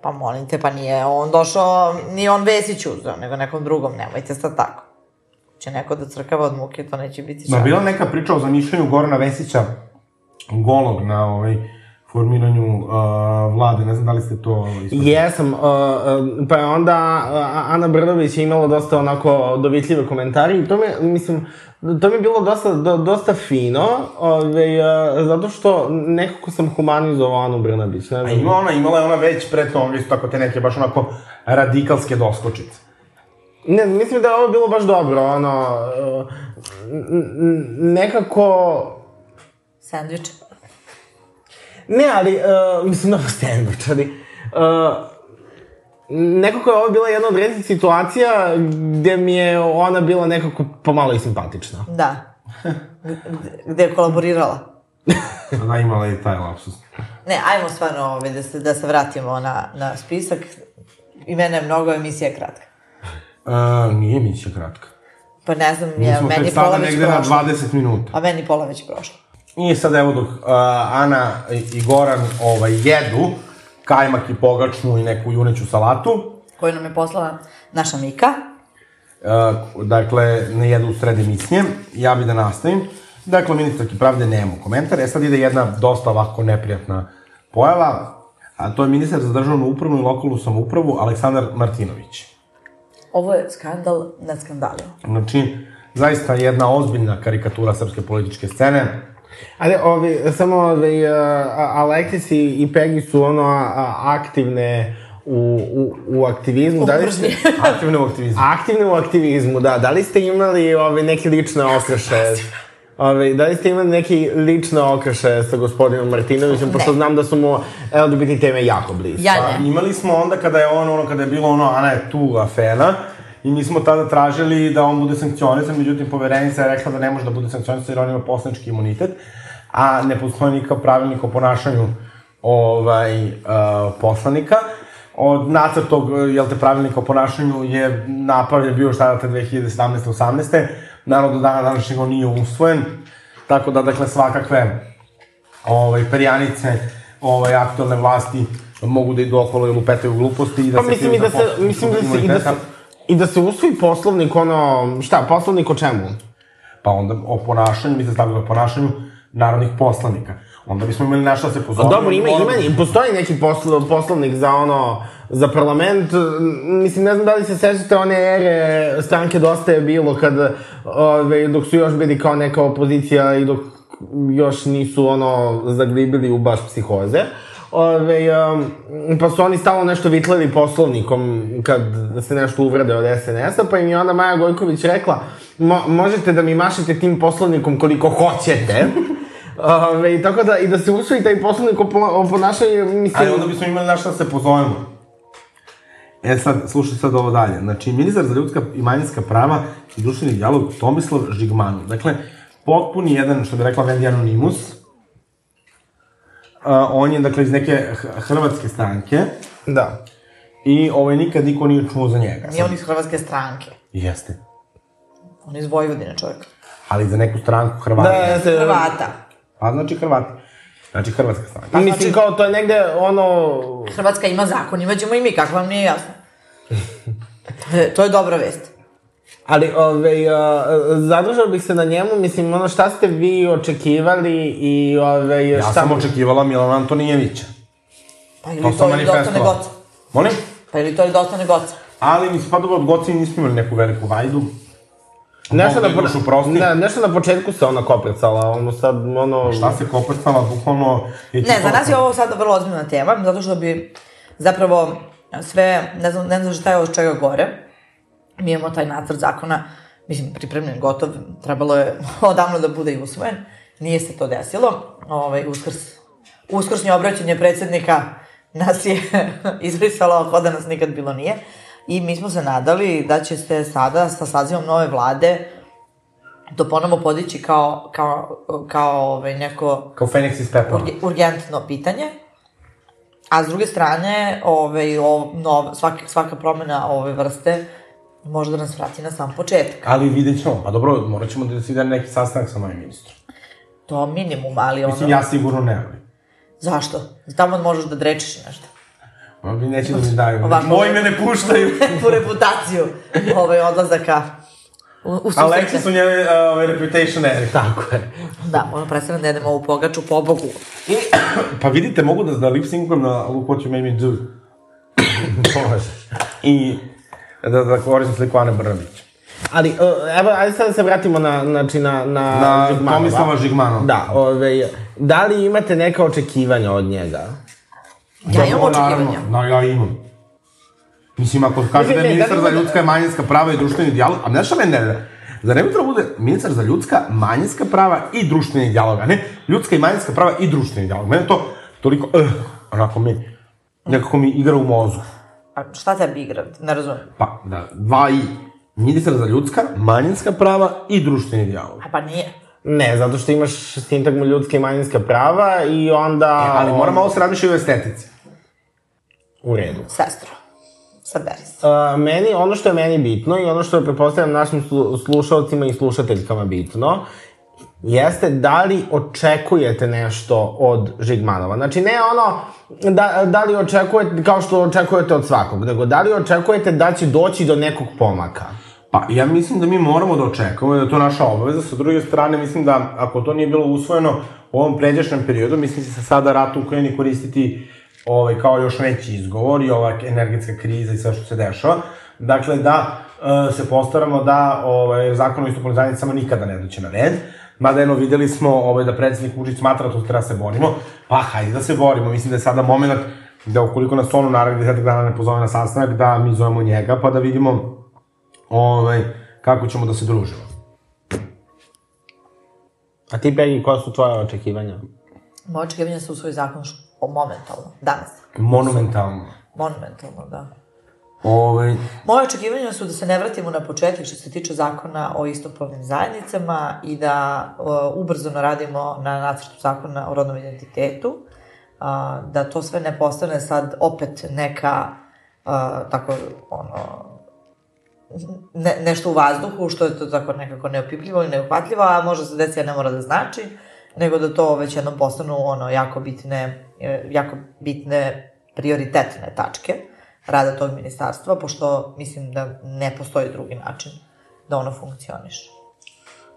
[SPEAKER 5] Pa molim te, pa nije on došao, nije on Vesić uzeo, nego nekom drugom, nemojte sad tako. Će neko da crkava od muke, to neće biti
[SPEAKER 3] Ma
[SPEAKER 5] šal.
[SPEAKER 3] bila neka priča o zamišljanju Gorana Vesića golog na ovaj formiranju uh, vlade, ne znam da li ste to ispratili.
[SPEAKER 1] Jesam, uh, uh, pa je onda uh, Ana Brdović je imala dosta onako dovitljive komentare i to mi, mislim, to mi je bilo dosta, do, dosta fino, ove, uh, zato što nekako sam humanizovao Anu Brnabić, ne
[SPEAKER 3] A
[SPEAKER 1] znam.
[SPEAKER 3] ima ona, imala je ona već pre toga isto tako te neke baš onako radikalske doskočice.
[SPEAKER 1] Ne, mislim da je ovo bilo baš dobro, ono... uh, n- n- Nekako...
[SPEAKER 5] Sandvič.
[SPEAKER 1] Ne, ali, uh, mislim, dobro sandvič, ali... Uh, nekako je ovo bila jedna od rednih situacija gde mi je ona bila nekako pomalo i simpatična.
[SPEAKER 5] Da. G- Gde je kolaborirala.
[SPEAKER 3] Ona imala i taj lapsus.
[SPEAKER 5] Ne, ajmo stvarno ovaj, da, se, da se vratimo na, na spisak. I mene je mnogo emisija kratka.
[SPEAKER 3] Uh, nije misija kratka.
[SPEAKER 5] Pa ne znam,
[SPEAKER 3] Mi
[SPEAKER 5] ja,
[SPEAKER 3] smo
[SPEAKER 5] meni
[SPEAKER 3] tek
[SPEAKER 5] je
[SPEAKER 3] sada
[SPEAKER 5] pola već
[SPEAKER 3] negde na
[SPEAKER 5] prošla.
[SPEAKER 3] 20 minuta.
[SPEAKER 5] A meni je pola već prošla.
[SPEAKER 3] I sad evo dok uh, Ana i i Goran ovaj, jedu kajmak i pogačnu i neku juneću salatu,
[SPEAKER 5] Koju nam je poslala naša Mika.
[SPEAKER 3] Uh, dakle, ne jedu u sred emisije, ja bi da nastavim. Dakle, ministarki pravde nemamo komentar, e sad ide jedna dosta ovako neprijatna pojava, a to je ministar za državnu upravu i lokalnu samoupravu Aleksandar Martinović.
[SPEAKER 5] Ovo je skandal nad skandalima.
[SPEAKER 3] Znači, zaista jedna ozbiljna karikatura srpske političke scene,
[SPEAKER 1] Ali, ovi, samo ovi, uh, Alexis i, i Peggy su ono a, aktivne u, u, u aktivizmu. Da li ste,
[SPEAKER 3] aktivne u aktivizmu.
[SPEAKER 1] aktivne u aktivizmu, da. Da li ste imali ove, neke lične okršaje? Ove, da li ste imali neki lične okršaje sa gospodinom Martinovićem, pošto znam da su mu LGBT teme jako blizu.
[SPEAKER 5] Ja
[SPEAKER 3] Pa,
[SPEAKER 5] ne.
[SPEAKER 3] imali smo onda kada je on, ono, kada je bilo ono, Ana je tu afera, i mi smo tada tražili da on bude sankcionisan, međutim, poverenica je rekla da ne može da bude sankcionisan jer on ima poslanički imunitet, a ne postoji nikakav pravilnik o ponašanju ovaj, uh, poslanika. Od nacrt tog, eh, jel te, pravilnika o ponašanju je napravljen bio šta da te 2017-18. Naravno, do dana današnjeg on nije usvojen, tako da, dakle, svakakve ovaj, perjanice ovaj, aktualne vlasti mogu da idu okolo i lupetaju gluposti i da
[SPEAKER 1] Pa
[SPEAKER 3] se
[SPEAKER 1] mislim
[SPEAKER 3] kriju
[SPEAKER 1] i da
[SPEAKER 3] za
[SPEAKER 1] se,
[SPEAKER 3] poslu
[SPEAKER 1] mislim da se, i da se,
[SPEAKER 3] imuniteta.
[SPEAKER 1] i da se usvoji poslovnik, ono, šta, poslovnik o čemu?
[SPEAKER 3] Pa onda o ponašanju, mi se stavili o ponašanju narodnih poslanika. Onda bismo imali na šta da se pozove.
[SPEAKER 1] Dobro, ima, ima, postoji neki poslo, poslovnik za ono, za parlament, mislim, ne znam da li se sećate one ere stranke Dosta je bilo kad, ove, dok su još bili kao neka opozicija i dok još nisu ono, zaglibili u baš psihoze. Ove, um, pa su oni stalno nešto vitlali poslovnikom kad se nešto uvrede od SNS-a, pa im je onda Maja Gojković rekla "Mo- možete da mi mašete tim poslovnikom koliko hoćete. Ove, i tako da, i da se usvoji taj poslovnik o, po- o ponašanju, mislim...
[SPEAKER 3] Ali onda bismo imali na šta da se pozovemo. E sad, slušaj sad ovo dalje. Znači, ministar za ljudska i manjinska prava i društveni dijalog Tomislav Žigmanov. Dakle, potpuni jedan, što bi rekla Vendi Anonimus. A, on je, dakle, iz neke h- hrvatske stranke.
[SPEAKER 1] Da.
[SPEAKER 3] I ovaj, nikad niko nije čuo za njega.
[SPEAKER 5] Nije on iz hrvatske stranke.
[SPEAKER 3] Jeste.
[SPEAKER 5] On je iz Vojvodine čovjek.
[SPEAKER 3] Ali za neku stranku Hrvata.
[SPEAKER 1] Da, ja se...
[SPEAKER 5] Hrvata.
[SPEAKER 3] Pa znači Hrvati. Znači Hrvatska stranka.
[SPEAKER 1] Mislim, kao to je negde, ono,
[SPEAKER 5] Hrvatska ima zakon, imaćemo i mi, kako vam nije jasno. To je- to je dobra vest.
[SPEAKER 1] Ali, ovaj, a, zadržao bih se na njemu, mislim, ono, šta ste vi očekivali i, ovaj,
[SPEAKER 3] Ja
[SPEAKER 1] šta...
[SPEAKER 3] sam očekivala Milana Antonijevića.
[SPEAKER 5] Pa ili
[SPEAKER 3] To
[SPEAKER 5] to,
[SPEAKER 3] sam
[SPEAKER 5] ili dosta
[SPEAKER 3] manifestovala.
[SPEAKER 5] negoca.
[SPEAKER 3] Molim?
[SPEAKER 5] Pa ili to ili dosta negoca.
[SPEAKER 3] Ali mi se pa dobro od Goci nismo imali neku veliku vajdu.
[SPEAKER 1] Nešto na,
[SPEAKER 3] Mogu da igraš u prosti.
[SPEAKER 1] da, nešto na početku se ona koprcala, ono sad, ono...
[SPEAKER 3] Šta se koprcala, bukvalno... je
[SPEAKER 5] Ne, za
[SPEAKER 3] čitala
[SPEAKER 5] nas je ovo sad vrlo ozbiljna tema, zato što bi zapravo sve, ne znam, ne znam šta je od čega gore. Mi imamo taj nacrt zakona, mislim, pripremljen, gotov, trebalo je odavno da bude i usvojen. Nije se to desilo. Ovaj, uskrs, uskrsnje obraćanje predsednika nas je izbrisalo ako da nas nikad bilo nije. I mi smo se nadali da će se sada sa sazivom nove vlade to ponovo podići kao, kao, kao ovaj, neko
[SPEAKER 3] Kao Feniks iz Pepela.
[SPEAKER 5] urge- urgentno pitanje. A s druge strane, ovaj, o, nov, svaka, svaka promena ove vrste može da nas vrati na sam početak.
[SPEAKER 3] Ali vidjet ćemo, pa dobro, morat ćemo da se ide na neki sastanak sa novim ministrom.
[SPEAKER 5] To minimum, ali ono...
[SPEAKER 3] Mislim, ja sigurno ne, ali.
[SPEAKER 5] Zašto? Tamo možeš da drečiš nešto.
[SPEAKER 3] Oni neće da mi daju.
[SPEAKER 5] Ovako.
[SPEAKER 3] Moji me ne puštaju.
[SPEAKER 5] tu reputaciju ovaj, odlazaka u, u susrete.
[SPEAKER 3] Alexis u njene uh, ovaj, reputation eri. Tako je.
[SPEAKER 5] Da, ono predstavljam da jedemo ovu pogaču pobogu.
[SPEAKER 3] I, pa vidite, mogu da, da lip syncujem na Look What You Made Me Do. Može. I da, da koristim sliku Ane Brnabić.
[SPEAKER 1] Ali, e, evo, ajde sad da se vratimo na, znači, na... Na,
[SPEAKER 3] Na
[SPEAKER 1] Žigmanova.
[SPEAKER 3] Tomislava Žigmanova.
[SPEAKER 1] Da, ovaj, da li imate neka očekivanja od njega?
[SPEAKER 5] Ja imam
[SPEAKER 3] Dobro, Da, naravno.
[SPEAKER 5] očekivanja.
[SPEAKER 3] Da, ja imam. Mislim, ako kaže
[SPEAKER 1] Ne,
[SPEAKER 3] da je
[SPEAKER 1] ne,
[SPEAKER 3] ministar
[SPEAKER 1] da
[SPEAKER 3] za
[SPEAKER 1] li bude-
[SPEAKER 3] ljudska i manjinska prava i društveni dijalog, a znaš šta me nervira? Zar ne bi trebalo da bude ministar za ljudska, manjinska prava i društveni dijalog, a ne ljudska i manjinska prava i društveni dijalog. Mene to toliko, eh, onako mi, nekako mi igra u mozgu.
[SPEAKER 5] A šta tebi igra? Ne razumem.
[SPEAKER 3] Pa, da, dva i. Ministar za ljudska, manjinska prava i društveni dijalog.
[SPEAKER 5] A pa nije.
[SPEAKER 1] Ne, zato što imaš sintagmu ljudska i manjinska prava i onda...
[SPEAKER 3] E, ali moram malo se razmišljati o estetici.
[SPEAKER 1] U redu.
[SPEAKER 5] Sestro. Saberi se.
[SPEAKER 1] Uh, meni, ono što je meni bitno i ono što je prepostavljam našim slu- slušalcima i slušateljkama bitno, jeste da li očekujete nešto od Žigmanova. Znači, ne ono da, da li očekujete, kao što očekujete od svakog, nego da li očekujete da će doći do nekog pomaka.
[SPEAKER 3] Pa, ja mislim da mi moramo da očekamo, da je to naša obaveza. Sa druge strane, mislim da ako to nije bilo usvojeno u ovom pređašnjem periodu, mislim da će se sada rat u Ukrajini koristiti ovaj, kao još veći izgovor i ova energetska kriza i sve što se dešava. Dakle, da e, se postaramo da ovaj, zakon o istopnim zajednicama nikada ne doće na red. Mada eno videli smo ovaj, da predsednik Vučić smatra da to treba da se borimo. Pa, hajde da se borimo. Mislim da je sada moment da ukoliko nas on u narednih desetak dana ne pozove na sastanak, da mi zovemo njega pa da vidimo ovaj, kako ćemo da se družimo.
[SPEAKER 1] A ti, Pegi, koja su tvoje očekivanja?
[SPEAKER 5] Moje očekivanje su u svoj zakon š- o- momentalno. Danas.
[SPEAKER 3] Monumentalno.
[SPEAKER 5] Monumentalno, da.
[SPEAKER 3] Ovaj,
[SPEAKER 5] Moje očekivanja su da se ne vratimo na početak što se tiče zakona o istopolnim zajednicama i da o, ubrzano radimo na nacrtu zakona o rodnom identitetu, a, da to sve ne postane sad opet neka a, tako ono ne, nešto u vazduhu što je to tako nekako neopipljivo i neuhvatljivo, a može se desiti, a ne mora da znači, nego da to već jednom postanu ono jako bitne, e, jako bitne prioritetne tačke rada tog ministarstva, pošto mislim da ne postoji drugi način da ono funkcioniše.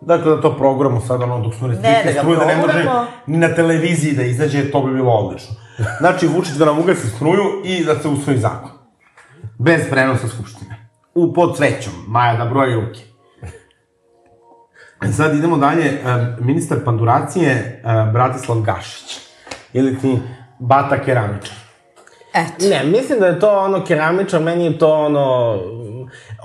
[SPEAKER 3] dakle, da to programu sad, ono, dok su
[SPEAKER 5] Ne, da
[SPEAKER 3] restrikcije
[SPEAKER 5] ga
[SPEAKER 3] struje, da ne može
[SPEAKER 5] proguramo.
[SPEAKER 3] ni na televiziji da izađe, to bi bilo odlično. Znači, Vučić da nam ugasi struju i da se usvoji zakon. Bez prenosa skupštine. U pod cvećom, Maja da broji ruke. E, Sad idemo dalje, e, ministar panduracije e, Bratislav Gašić. Ili ti Bata Keramičar.
[SPEAKER 5] Eto.
[SPEAKER 1] Ne, mislim da je to ono keramičar, meni je to ono...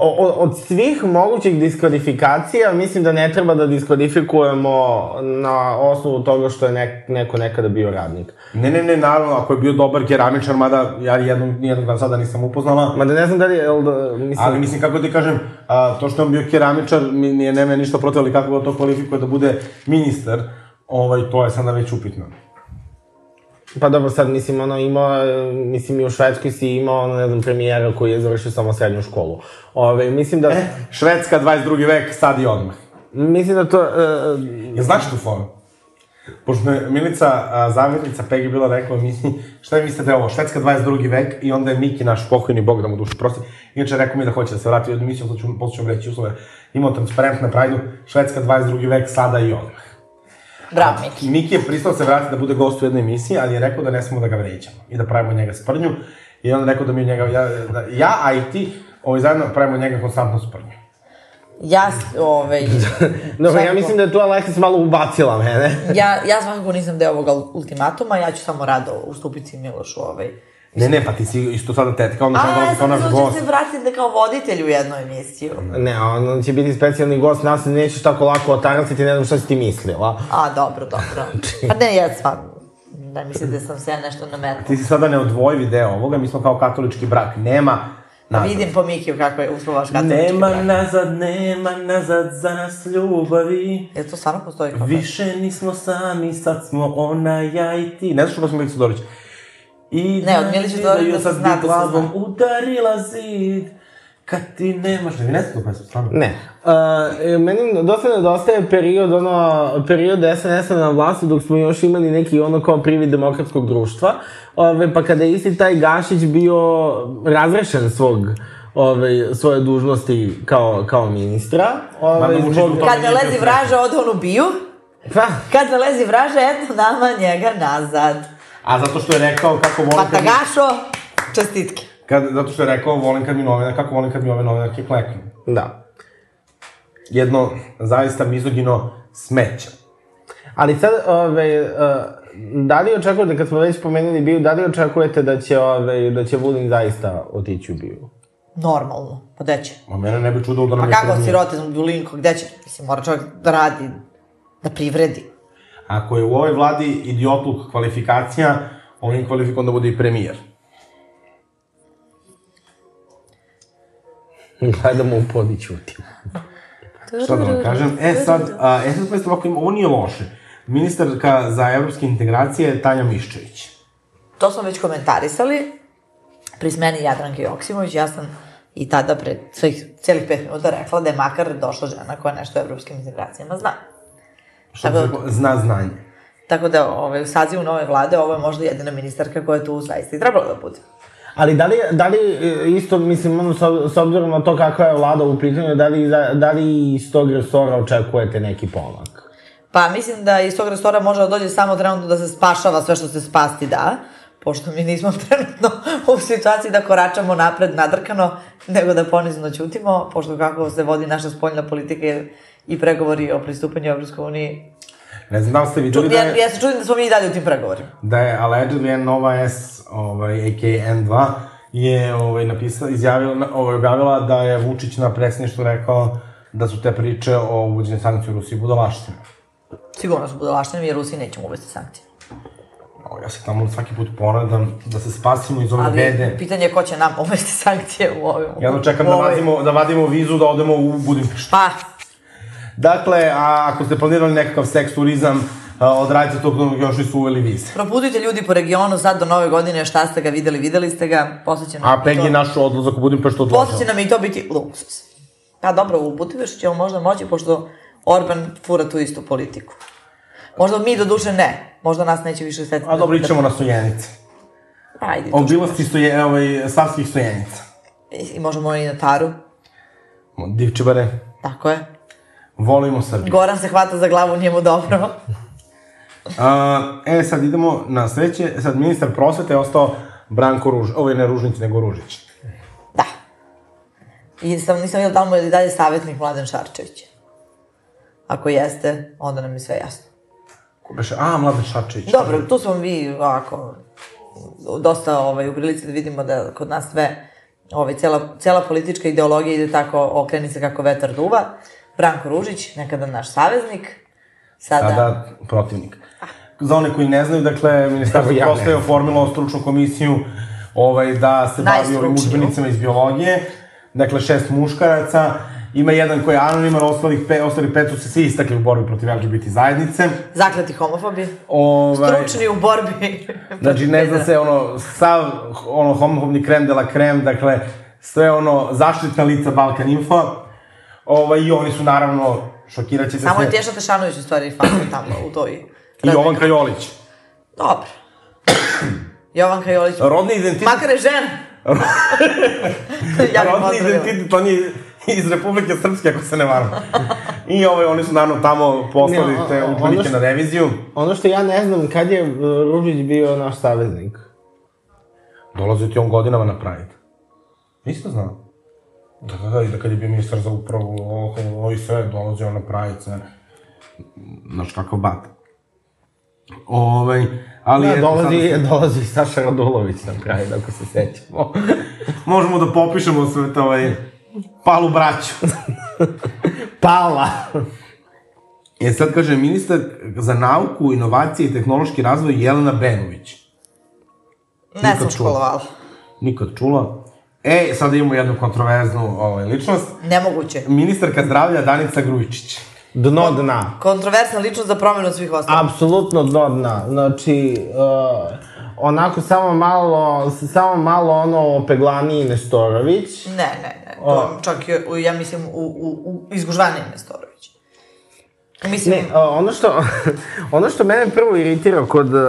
[SPEAKER 1] O, o, od svih mogućih diskvalifikacija, mislim da ne treba da diskvalifikujemo na osnovu toga što je nek, neko nekada bio radnik.
[SPEAKER 3] Ne, ne, ne, naravno, ako je bio dobar keramičar, mada ja jednom, nijednog ga sada nisam upoznala,
[SPEAKER 1] Mada ne znam da li je, jel da, mislim...
[SPEAKER 3] Ali mislim, kako ti kažem, a, to što je on bio keramičar, mi nije nema ništa protiv, ali kako ga to kvalifikuje da bude ministar, ovaj, to je sada već upitno.
[SPEAKER 1] Pa dobro, sad mislim, ono, imao, e, mislim, i u Švedskoj si imao, ono, ne znam, premijera koji je završio samo srednju školu. Ove, mislim da,
[SPEAKER 3] E, Švedska, 22. vek, sad i odmah.
[SPEAKER 1] mislim da to, e,
[SPEAKER 3] Ja znaš tu foru? Pošto je Milica, a, zavetnica Pegi bila rekla mi, šta je mislite da je ovo, Švedska 22. vek i onda je Miki, naš pokojni bog da mu dušu prosti, inače rekao mi da hoće da se vrati u jednu emisiju, posle ću, posle ću vam reći uslove, imao transparent na prajdu, Švedska 22. vek, sada i odmah.
[SPEAKER 5] Bravo, Miki.
[SPEAKER 3] Miki je pristao da se vrati da bude gost u jednoj emisiji, ali je rekao da ne smemo da ga vređamo i da pravimo njega sprnju. I onda je rekao da mi njega, ja, da, ja a i ti, ovaj, zajedno pravimo njega konstantno sprnju.
[SPEAKER 5] Ja, s- ovaj...
[SPEAKER 1] dobro, ja
[SPEAKER 5] svakako-
[SPEAKER 1] mislim da je tu Alexis malo ubacila mene.
[SPEAKER 5] Ja, ja svakako nisam deo ovog ultimatuma, ja ću samo rado ustupiti Milošu ovaj,
[SPEAKER 3] Ne, ne, pa ti si isto sada tetka, onda ćemo
[SPEAKER 5] A, ja
[SPEAKER 3] dolaziti kao
[SPEAKER 5] sam
[SPEAKER 3] naš
[SPEAKER 5] mislila da
[SPEAKER 3] gost.
[SPEAKER 5] će se vratiti da kao voditelj u jednu emisiju.
[SPEAKER 1] Ne, on će biti specijalni gost, nas nećeš tako lako otaraciti, ne znam šta si ti mislila.
[SPEAKER 5] A, dobro, dobro. Pa ne, ja sam... Ne mislim da sam se ja nešto nametila.
[SPEAKER 3] Ti si sada neodvojivi deo ovoga, mi smo kao katolički brak, nema nazad.
[SPEAKER 5] Vidim po Mikiju kako je uslovaš Pa katolički
[SPEAKER 4] Nema
[SPEAKER 5] brak.
[SPEAKER 4] nazad, nema nazad za nas ljubavi.
[SPEAKER 5] Jel to stvarno postoji kao Viš...
[SPEAKER 4] Više nismo sami, sad smo ona, ja i ti.
[SPEAKER 3] I ne znaš što smo Milicu Dorić.
[SPEAKER 4] I
[SPEAKER 5] Ne, od Milice Dodorić
[SPEAKER 4] ju
[SPEAKER 5] da se
[SPEAKER 4] sad
[SPEAKER 5] zna
[SPEAKER 4] bi
[SPEAKER 5] da se
[SPEAKER 4] glavom
[SPEAKER 5] zna.
[SPEAKER 4] udarila zid. Kad ti nemaš...
[SPEAKER 3] Možda vi ne znate to pesmu, stvarno.
[SPEAKER 1] Ne. Uh, meni dosta nedostaje period, ono, period SNS-a na vlasti dok smo još imali neki ono kao privid demokratskog društva. Ove, pa kada je isti taj Gašić bio razrešen svog ove, svoje dužnosti kao, kao ministra. Ove,
[SPEAKER 3] Mada Vučić u tome
[SPEAKER 5] Kad ne
[SPEAKER 3] nije bio
[SPEAKER 5] lezi
[SPEAKER 3] srećan.
[SPEAKER 5] vraža, ode on ubiju.
[SPEAKER 1] pa,
[SPEAKER 5] Kad ne lezi vraža, eto nama njega nazad.
[SPEAKER 3] A zato što je rekao kako volim
[SPEAKER 5] Pa,
[SPEAKER 3] kad, mi,
[SPEAKER 5] Patagašo, čestitke.
[SPEAKER 3] kad, zato što je rekao volim kad mi novina, kako volim kad mi ove novinarke kleknu.
[SPEAKER 1] da.
[SPEAKER 3] Jedno zaista mizogino smeće.
[SPEAKER 1] Ali sad, ove, uh, da li ovaj, očekujete, kad smo već pomenuli Biju, da li očekujete da će, ove, da će Vulin zaista otići u Biju?
[SPEAKER 5] normalno. Pa gde će?
[SPEAKER 3] Ma mene ne bi čudilo da nam
[SPEAKER 5] Pa
[SPEAKER 3] je
[SPEAKER 5] kako
[SPEAKER 3] premijer.
[SPEAKER 5] sirote u linku, gde će? Mislim, mora čovjek da radi, da privredi.
[SPEAKER 3] Ako je u ovoj vladi idiotluk kvalifikacija, on je kvalifikovan da bude i premijer.
[SPEAKER 1] Gledamo u pod i ćutim.
[SPEAKER 3] Šta da vam kažem? E sad, a, e sad pazite ovako, ima- ovo nije loše. Ministarka za evropske integracije je Tanja Miščević.
[SPEAKER 5] To smo već komentarisali, pri smeni Jadranke Joksimović, ja sam i tada pred svih celih pet minuta rekla da je makar došla žena koja nešto o evropskim integracijama zna.
[SPEAKER 3] Što bi
[SPEAKER 5] Tako- da-
[SPEAKER 3] se reklo, zna znanje.
[SPEAKER 5] Tako da ovaj, u sazivu nove vlade ovo je možda jedina ministarka koja je tu zaista i trebala da bude.
[SPEAKER 1] Ali da li, da li e, isto, mislim, ono, s ob- s obzirom na to kakva je vlada u pitanju, da li, da, da li iz tog resora očekujete neki pomak?
[SPEAKER 5] Pa mislim da iz tog restora može da dođe samo trenutno da se spašava sve što se spasti da, pošto mi nismo trenutno u situaciji da koračamo napred nadrkano, nego da ponizno ćutimo, pošto kako se vodi naša spoljna politika i pregovori o pristupanju Evropskoj uniji.
[SPEAKER 3] Ne znam da li ste videli da
[SPEAKER 5] Ja,
[SPEAKER 3] je,
[SPEAKER 5] ja se čudim da smo mi i dalje u tim pregovorima.
[SPEAKER 3] da je allegedly Nova S, ovaj, aka N2, je ovaj, napisala, izjavila, na- ovaj, objavila da je Vučić na predsjedništvu rekao da su te priče o uvođenju sankcija u Rusiji budalaštine.
[SPEAKER 5] Sigurno su budalaštine, jer Rusi nećemo uvesti sankcije.
[SPEAKER 3] O, Ja se tamo svaki put ponadam da se spasimo iz ove
[SPEAKER 5] Ali
[SPEAKER 3] bede.
[SPEAKER 5] pitanje je ko će nam uvesti sankcije u ovim...
[SPEAKER 3] Ja jedno čekam
[SPEAKER 5] u
[SPEAKER 3] da
[SPEAKER 5] ovoj-
[SPEAKER 3] vadimo, da vadimo vizu da odemo u Budimpeštu.
[SPEAKER 5] Pa,
[SPEAKER 3] Dakle, a ako ste planirali nekakav seks turizam, a, odradite to kod još nisu uveli vize.
[SPEAKER 5] proputujte ljudi po regionu sad do nove godine, šta ste ga videli, videli ste ga, posle će nam
[SPEAKER 3] A
[SPEAKER 5] i
[SPEAKER 3] Peg
[SPEAKER 5] to-
[SPEAKER 3] je naš odlazak u Budimpeštu
[SPEAKER 5] Posle će
[SPEAKER 3] odložila.
[SPEAKER 5] nam i to biti luksus. Pa dobro, u Budimpešu ćemo možda moći, pošto Orban fura tu istu politiku. Možda mi do duše ne. Možda nas neće više setiti.
[SPEAKER 3] A dobro, ićemo na stojenice.
[SPEAKER 5] Da, ajde, to.
[SPEAKER 3] Obilasti stoje, ovaj, savskih stojenica.
[SPEAKER 5] I možemo i na Taru.
[SPEAKER 3] Divčibare,
[SPEAKER 5] Tako je.
[SPEAKER 3] volimo Srbiju.
[SPEAKER 5] Goran se hvata za glavu, nije mu dobro.
[SPEAKER 3] A, e, sad idemo na sledeće. Sad, ministar prosvete je ostao Branko Ruž, ovaj ne Ružnić, nego Ružić.
[SPEAKER 5] Da. I sam, nisam vidjela da li mu je i dalje savjetnik Mladen Šarčević. Ako jeste, onda nam je sve jasno.
[SPEAKER 3] Ko beše? A, Mladen Šačević.
[SPEAKER 5] Dobro, tu smo mi ovako dosta ovaj, u prilici da vidimo da kod nas sve, ovaj, cela, cela politička ideologija ide tako, okreni se kako vetar duva. Branko Ružić, nekada naš saveznik, sada...
[SPEAKER 3] A da, protivnik. Za one koji ne znaju, dakle, ministarstvo
[SPEAKER 1] Ja ne
[SPEAKER 3] prosvete je oformilo stručnu komisiju ovaj, da se bavi ovim
[SPEAKER 5] Najstručniju.
[SPEAKER 3] učbenicima iz biologije. Dakle, šest muškaraca, ima jedan koji je anoniman, ostalih pe, ostali pet su se svi istakli u borbi protiv LGBT zajednice.
[SPEAKER 5] Zakleti homofobi,
[SPEAKER 3] Ovaj,
[SPEAKER 5] stručni u borbi.
[SPEAKER 3] Znači, ne zna se ono, sav ono, homofobni krem de la krem, dakle, sve ono, zaštitna lica Balkan Info. Ovaj, I oni su naravno, šokirat ćete
[SPEAKER 5] Samo je
[SPEAKER 3] se,
[SPEAKER 5] Tješa Tešanović u stvari fan tamo u toj...
[SPEAKER 3] i Jovanka Jolić.
[SPEAKER 5] Dobro. Jovanka Jolić.
[SPEAKER 3] Rodni identitet
[SPEAKER 5] Makar je žena. ja bih
[SPEAKER 3] Rodni
[SPEAKER 5] pozdravila.
[SPEAKER 3] identitet, on je iz Republike Srpske, ako se ne varam. I ovaj, oni su naravno tamo poslali
[SPEAKER 1] Ne, a-
[SPEAKER 3] te
[SPEAKER 1] a- ono
[SPEAKER 3] učbenike
[SPEAKER 1] što-
[SPEAKER 3] na reviziju.
[SPEAKER 1] Ono što ja ne znam, kad je e, Ružić bio naš saveznik?
[SPEAKER 3] Dolazi ti on godinama na Pride. Isto znam. Da, da, da, i da kad je bio ministar za upravu, ovo, ovo i sve, dolazi on na Pride, sve. Znaš kakav bat. Ovaj, ali...
[SPEAKER 1] Da,
[SPEAKER 3] eto,
[SPEAKER 1] dolazi,
[SPEAKER 3] sad-
[SPEAKER 1] dolazi Saša Radulović na kraju, ako se sećamo.
[SPEAKER 3] Možemo da popišemo sve to, ovaj, palu braću.
[SPEAKER 1] Pala!
[SPEAKER 3] E sad kaže ministar za nauku, inovacije i tehnološki razvoj Jelena Benović.
[SPEAKER 5] Ne
[SPEAKER 3] Nikad čula.
[SPEAKER 5] sam školovala.
[SPEAKER 3] Nikad čula. E, sada imamo jednu kontroverznu ovaj, ličnost.
[SPEAKER 5] Nemoguće.
[SPEAKER 3] Ministarka zdravlja Danica Grujičić.
[SPEAKER 1] Dno dna.
[SPEAKER 5] Kontroversna ličnost za promenu svih ostalih.
[SPEAKER 1] Apsolutno dno dna. Znači, uh, onako samo malo, samo malo ono opeglaniji Nestorović.
[SPEAKER 5] Ne, ne, ne. To čak i, u- ja mislim, u, u, u izgužvanije Nestorović. Mislim,
[SPEAKER 1] Ne, a, E, ono što, ono što mene prvo iritira kod, e,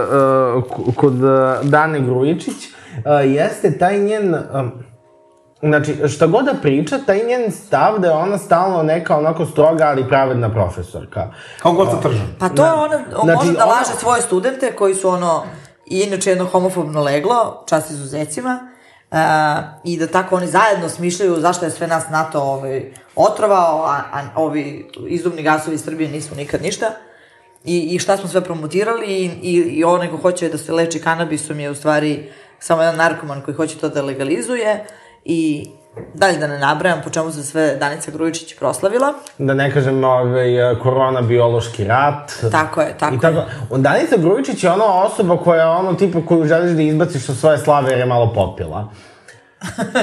[SPEAKER 1] k- kod e, Dane Grujičić e, jeste taj njen... em, Znači, šta god da priča, taj njen stav da je ona stalno neka onako stroga, ali pravedna profesorka.
[SPEAKER 3] Kao god sa tržan.
[SPEAKER 5] pa to je ona, on
[SPEAKER 1] Znači,
[SPEAKER 5] može da
[SPEAKER 1] ona-
[SPEAKER 5] laže svoje studente koji su ono, i inače jedno homofobno leglo, čast izuzecima, Uh, i da tako oni zajedno smišljaju zašto je sve nas NATO ovaj, otrovao, a, a ovi izdubni gasovi iz Srbije nisu nikad ništa. I, i šta smo sve promotirali i, i, i onaj ko hoće da se leči kanabisom je u stvari samo jedan narkoman koji hoće to da legalizuje i dalje da ne nabrajam po čemu se sve Danica Grujičić proslavila.
[SPEAKER 1] Da ne kažem, ovaj, korona, biološki rat.
[SPEAKER 5] Tako je, tako
[SPEAKER 1] Da, I tako, Danica Grujičić je ona osoba koja je ono tipa koju želiš da izbaciš sa svoje slave jer je malo popila.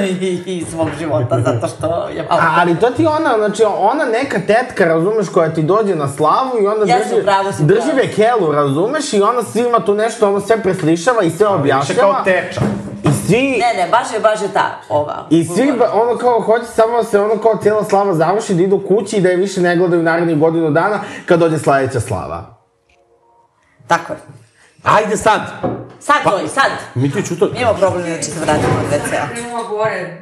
[SPEAKER 5] I- i iz svog života, zato što je malo...
[SPEAKER 1] A, ali to ti je ona, znači ona neka tetka, razumeš, koja ti dođe na slavu i onda
[SPEAKER 5] Ja sam
[SPEAKER 1] drži,
[SPEAKER 5] u pravu, si da. u
[SPEAKER 1] drži
[SPEAKER 5] pravu.
[SPEAKER 1] vekelu, razumeš, i ona svima tu nešto, ono sve preslišava i
[SPEAKER 3] Više
[SPEAKER 1] sve
[SPEAKER 3] kao
[SPEAKER 1] objašnjava.
[SPEAKER 3] teča.
[SPEAKER 1] I svi,
[SPEAKER 5] Ne, ne, baš je, baš je ta, ova.
[SPEAKER 1] I svi, ba- ono kao, hoće samo da se ono kao cijela slava završi, da idu kući i da je više ne gledaju narednih godinu dana kad dođe sledeća slava.
[SPEAKER 5] Tako je.
[SPEAKER 3] Ajde sad!
[SPEAKER 5] Sad,
[SPEAKER 1] Pa-
[SPEAKER 5] Zoji, sad.
[SPEAKER 3] Mi ti čutak.
[SPEAKER 5] Nijemo problem, znači se vratimo od WC-a.
[SPEAKER 6] Krenula gore.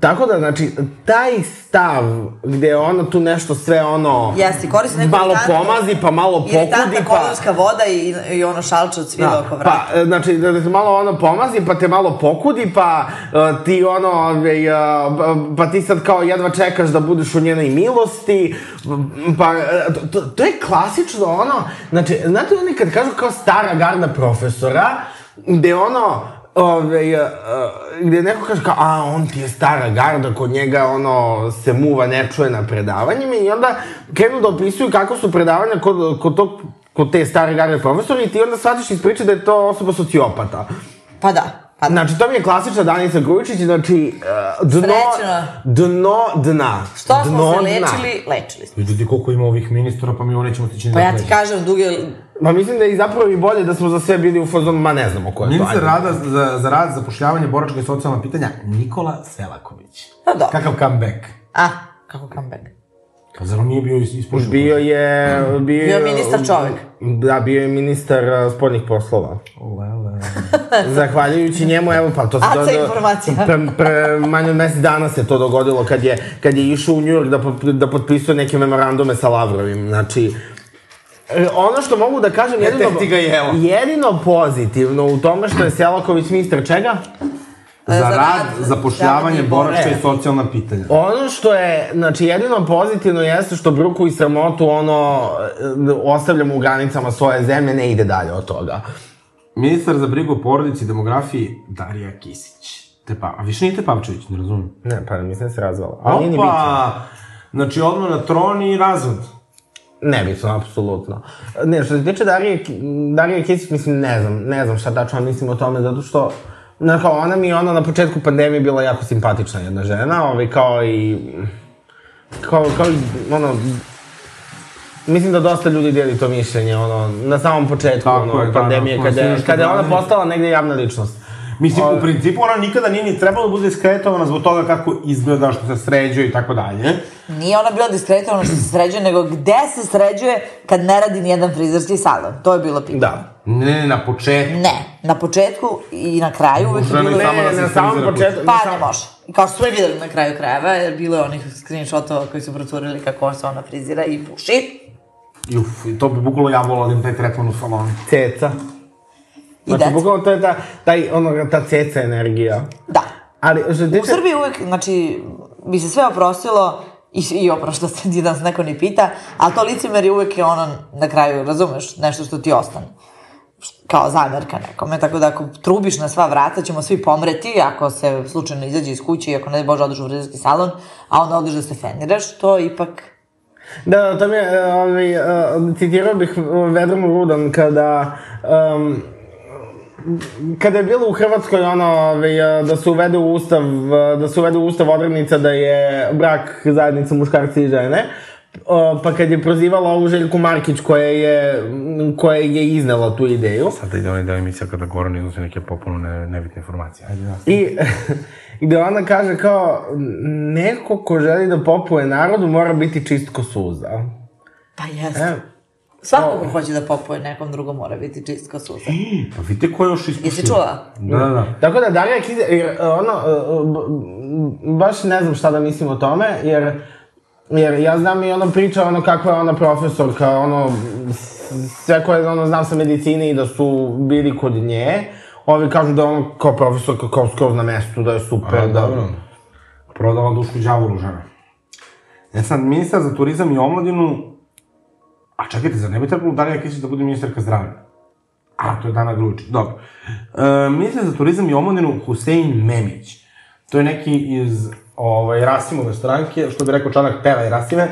[SPEAKER 1] Tako da, znači, taj stav gde je ono tu nešto sve ono...
[SPEAKER 5] Jeste, koristim neku
[SPEAKER 1] Malo pomazi, pa malo
[SPEAKER 5] Ili tanta
[SPEAKER 1] pokudi, pa...
[SPEAKER 5] kolonska voda i, i ono šalče od svila oko
[SPEAKER 1] Da,
[SPEAKER 5] vrata.
[SPEAKER 1] pa, e, znači, da da te malo ono pomazi, pa te malo pokudi, pa e, ti ono, ovaj, e, pa- pa ti sad kao jedva čekaš da budeš u njenoj milosti, pa e, to- to, to je klasično ono, znači, znate oni kad kažu kao stara garda profesora, gde ono, Ove, e, e, gde neko kaže kao, a on ti je stara garda, kod njega ono se muva ne čuje na predavanjima i onda krenu da opisuju kako su predavanja kod, kod tog kod te stare garde profesora i ti onda shvatiš iz priče da je to osoba sociopata.
[SPEAKER 5] Pa da. Pa da.
[SPEAKER 1] Znači, to mi je klasična Danica Grujičić, znači, uh, dno,
[SPEAKER 5] Srećno.
[SPEAKER 1] dno dna.
[SPEAKER 5] Što smo
[SPEAKER 1] dno
[SPEAKER 5] se
[SPEAKER 1] dna.
[SPEAKER 5] lečili, lečili smo.
[SPEAKER 3] Ljudi, koliko ima ovih ministra, pa mi ovo nećemo stići. ni
[SPEAKER 5] Pa
[SPEAKER 3] da
[SPEAKER 5] ja ti
[SPEAKER 3] pređemo.
[SPEAKER 5] kažem, duge...
[SPEAKER 1] Ma mislim da je i zapravo i bolje da smo za sve bili u fazonu, ma ne znamo ko je to.
[SPEAKER 3] Ministar
[SPEAKER 1] ajde.
[SPEAKER 3] rada za, za rad, zapošljavanje, boračka i socijalna pitanja, Nikola Selaković.
[SPEAKER 5] Pa da.
[SPEAKER 3] Kakav comeback?
[SPEAKER 5] A, kako comeback.
[SPEAKER 3] Kao Pa zar on nije bio is- ispušten?
[SPEAKER 1] Bio je... Bio,
[SPEAKER 5] Bio je ministar čovek.
[SPEAKER 1] Da, bio je ministar uh, spoljnih poslova.
[SPEAKER 3] Lele.
[SPEAKER 1] Zahvaljujući njemu, evo, pa to se...
[SPEAKER 5] Aca
[SPEAKER 1] do- do-
[SPEAKER 5] informacija.
[SPEAKER 1] Pre, pre manje od mesec dana se to dogodilo kad je, kad je išao u Njujork da, pot- da potpisuje neke memorandume sa Lavrovim. Znači, e, ono što mogu da kažem jedino,
[SPEAKER 3] tek ti ga jela.
[SPEAKER 1] jedino pozitivno u tome što je Selaković ministar čega?
[SPEAKER 5] za
[SPEAKER 3] Za rad,
[SPEAKER 5] rad,
[SPEAKER 3] zapošljavanje,
[SPEAKER 5] zapošljavanje E. i
[SPEAKER 3] boračka
[SPEAKER 1] boračka.
[SPEAKER 3] i socijalna pitanja.
[SPEAKER 1] Ono što je, znači jedino pozitivno jeste što bruku i sramotu ono e, ostavljamo u granicama svoje zemlje, ne ide dalje od toga.
[SPEAKER 3] Ministar za brigu o porodici i demografiji, Darija Kisić. Tepa, a više nije Tepavčević, ne razumijem.
[SPEAKER 1] Ne, pa mislim da se razvala. Ali nije ni bitno.
[SPEAKER 3] Opa! Znači, odmah na tron i razvod.
[SPEAKER 1] Nebitno, apsolutno. Ne, što se tiče Darije, Ki- Darije Kisić, mislim, ne znam, ne znam šta tačno mislim o tome, zato što, na, kao, ona mi je ono na početku pandemije bila jako simpatična jedna žena, ovaj, kao i, kao, kao i, ono, mislim da dosta ljudi deli to mišljenje, ono, na samom početku,
[SPEAKER 3] Tako
[SPEAKER 1] ono,
[SPEAKER 3] je, da,
[SPEAKER 1] pandemije,
[SPEAKER 3] da,
[SPEAKER 1] kada, je-
[SPEAKER 3] posebno što
[SPEAKER 1] kada je ona
[SPEAKER 3] Darija-
[SPEAKER 1] postala negde javna ličnost.
[SPEAKER 3] Mislim, u principu ona nikada nije ni trebala da bude skretovana zbog toga kako izgleda, što se sređuje i tako dalje.
[SPEAKER 5] Nije ona bila diskretna ono što se sređuje, nego gde se sređuje kad ne radi nijedan frizerski salon. To je bilo pitanje.
[SPEAKER 1] Da.
[SPEAKER 3] Ne, na početku.
[SPEAKER 5] Ne, na početku i na kraju uvek je
[SPEAKER 3] Žena je
[SPEAKER 5] bilo...
[SPEAKER 3] sama da se
[SPEAKER 1] na
[SPEAKER 3] frizira
[SPEAKER 1] samom
[SPEAKER 3] kući.
[SPEAKER 1] početku, na
[SPEAKER 5] Pa
[SPEAKER 1] samom-
[SPEAKER 5] ne može. I kao što smo i videli na kraju krajeva, jer bilo je onih screenshotova koji su proturili kako se ona frizira i puši.
[SPEAKER 3] Juf, i to bi bukvalo ja volao da im taj tretman u salonu.
[SPEAKER 1] Ceca.
[SPEAKER 5] I
[SPEAKER 1] Znači,
[SPEAKER 5] deca.
[SPEAKER 1] bukvalno to je ta, taj, ono, ta ceca energija.
[SPEAKER 5] Da.
[SPEAKER 1] Ali, što se
[SPEAKER 5] U
[SPEAKER 1] tiče...
[SPEAKER 5] Srbiji uvek, znači, bi se sve oprostilo i, i oprošta se, ni da nas neko ni pita, ali to licimerje uvek je ono na kraju, razumeš, nešto što ti ostane kao zamerka nekome, tako da ako trubiš na sva vrata ćemo svi pomreti ako se slučajno izađe iz kuće i ako ne daj bože odeš u frizerski salon, a onda odeš da se feniraš, to ipak
[SPEAKER 1] Da, da, to mi je, e, ovaj, e, citirao bih e, Vedran Rudan kada, um, kada je bilo u Hrvatskoj ono, ovaj, e, da se uvede u ustav, e, da se uvede u ustav odrednica da je brak zajednica muškarca i žene, O, pa kad je prozivala ovu Željku Markić koja je, m, koja je iznela tu ideju.
[SPEAKER 3] Sada ide onaj deo emisija kada Goran iznosi neke popuno ne, nebitne informacije. Ajde, da.
[SPEAKER 1] I gde ona kaže kao, neko ko želi da popuje narodu mora biti čist ko suza.
[SPEAKER 5] pa jeste.
[SPEAKER 1] E,
[SPEAKER 5] Svako ko hoće da popuje nekom drugom mora biti čist kao suza.
[SPEAKER 3] Pa vidite ko je još ispušten.
[SPEAKER 5] Jesi čula?
[SPEAKER 3] Da, da, da.
[SPEAKER 1] Tako da Darija Kize, jer e, ono, e, b- m, baš ne znam šta da mislim o tome, jer, jer ja znam i ono priča ono kakva je ona profesorka, ono, s- sve koje ono, znam sa medicine i da su bili kod nje, ovi kažu da je ono kao profesorka kao skroz na mestu, da je super,
[SPEAKER 3] Pa,
[SPEAKER 1] da...
[SPEAKER 3] dobro. Prodala dušku đavolu žena. E sad, ministar za turizam i omladinu... A čekajte, zar ne bi trebalo Darija Kisić da bude ministarka zdravlja? A, to je Dana Gruči, dobro. E, ministar za turizam i omladinu Husein Memić. To je neki iz ovaj, Rasimove stranke, što bi rekao Čanak, pevaj Rasime.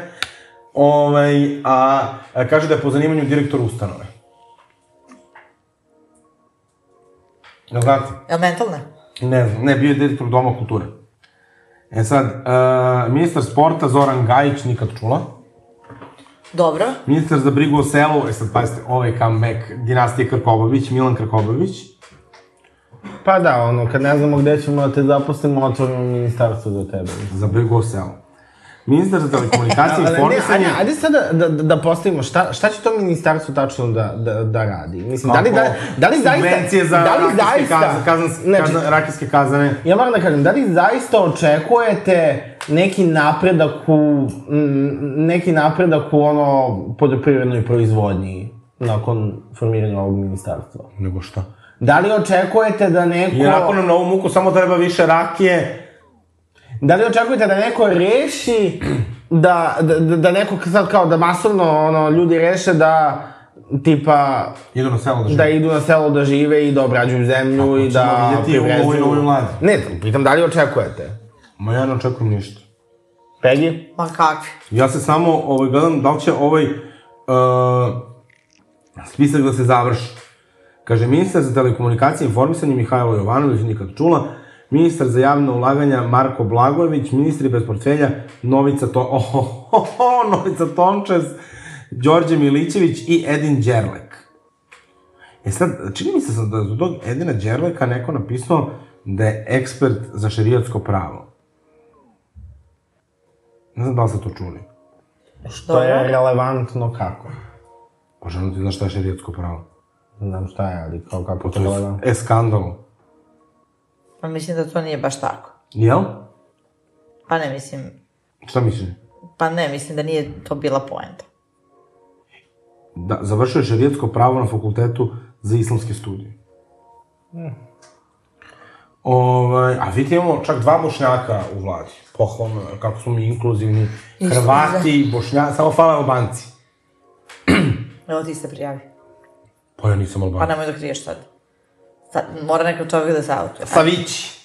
[SPEAKER 3] Ovaj, a, a kaže da je po zanimanju direktor ustanove. Jel znate?
[SPEAKER 5] Jel mentalna?
[SPEAKER 3] Ne znam, ne, bio je direktor Doma kulture. E sad, e, ministar sporta Zoran Gajić, nikad čula.
[SPEAKER 5] Dobro.
[SPEAKER 3] Ministar za brigu o selu, e sad pazite, ovaj comeback, dinastija Krkobabić, Milan Krkobabić.
[SPEAKER 1] Pa da, ono, kad ne znamo gde ćemo da te zaposlimo, otvorimo ministarstvo za tebe.
[SPEAKER 3] Za brigu o selu. Ministar za telekomunikacije i
[SPEAKER 1] Ali ne,
[SPEAKER 3] informisanje,
[SPEAKER 1] Anja, ajde sada da, da, da postavimo šta, šta će to ministarstvo tačno da, da, da radi? Mislim, da li, da, da li zaista...
[SPEAKER 3] subvencije za
[SPEAKER 1] da li
[SPEAKER 3] rakijske kazane,
[SPEAKER 1] zaista,
[SPEAKER 3] kazans,
[SPEAKER 1] znači,
[SPEAKER 3] kazan, rakijske kazane.
[SPEAKER 1] Ja moram da kažem, da li zaista očekujete neki napredak u, mm, neki napredak u ono poljoprivrednoj proizvodnji nakon formiranja ovog ministarstva?
[SPEAKER 3] Nego šta?
[SPEAKER 1] Da li očekujete da neko...
[SPEAKER 3] I onako nam na ovu muku samo treba više rakije,
[SPEAKER 1] Da li očekujete da neko reši, da, da, da neko sad kao da masovno ono, ljudi reše da tipa
[SPEAKER 3] idu na selo da žive.
[SPEAKER 1] da idu na selo da žive i da obrađuju zemlju i da
[SPEAKER 3] vidjeti u ovoj novoj mladi.
[SPEAKER 1] Ne, to pitam da li očekujete?
[SPEAKER 3] Ma ja ne očekujem ništa.
[SPEAKER 1] Pegi?
[SPEAKER 5] Ma kakvi?
[SPEAKER 3] Ja se samo ovaj, gledam da li će ovaj uh, spisak da se završi. Kaže, ministar za telekomunikacije i informisanje Mihajlo Jovanović, nikad čula, ministar za javne ulaganja Marko Blagojević, ministri bez portfelja Novica, to oh, oh, oh, oh, Novica Tomčes, Đorđe Milićević i Edin Đerlek. E sad, čini mi se sad da je za tog Edina Đerleka neko napisao da je ekspert za šerijatsko pravo. Ne znam da li ste to čuli.
[SPEAKER 1] Što je relevantno kako?
[SPEAKER 3] Pa žena ti znaš šta je šerijatsko pravo.
[SPEAKER 1] Ne znam šta je, ali kao kako to
[SPEAKER 3] To
[SPEAKER 1] je
[SPEAKER 3] je
[SPEAKER 1] relevantno.
[SPEAKER 3] e skandal.
[SPEAKER 5] Pa mislim da to nije baš tako.
[SPEAKER 3] Jel?
[SPEAKER 5] Pa ne mislim,
[SPEAKER 3] Šta misliš?
[SPEAKER 5] pa ne mislim da nije to bila poenta.
[SPEAKER 3] Da, završio je šerijatsko pravo na fakultetu za islamske studije. Ovaj, a vidite imamo čak dva bošnjaka u vladi. Pohvalno, je, kako smo mi inkluzivni. Hrvati, bošnjaci, samo fala albanci.
[SPEAKER 5] Evo ti se prijavi.
[SPEAKER 3] Pa ja nisam
[SPEAKER 5] Pa
[SPEAKER 3] albanac.
[SPEAKER 5] nemoj da kriješ sad. Sad, mora neko čovjek da se autuje.
[SPEAKER 3] Savići.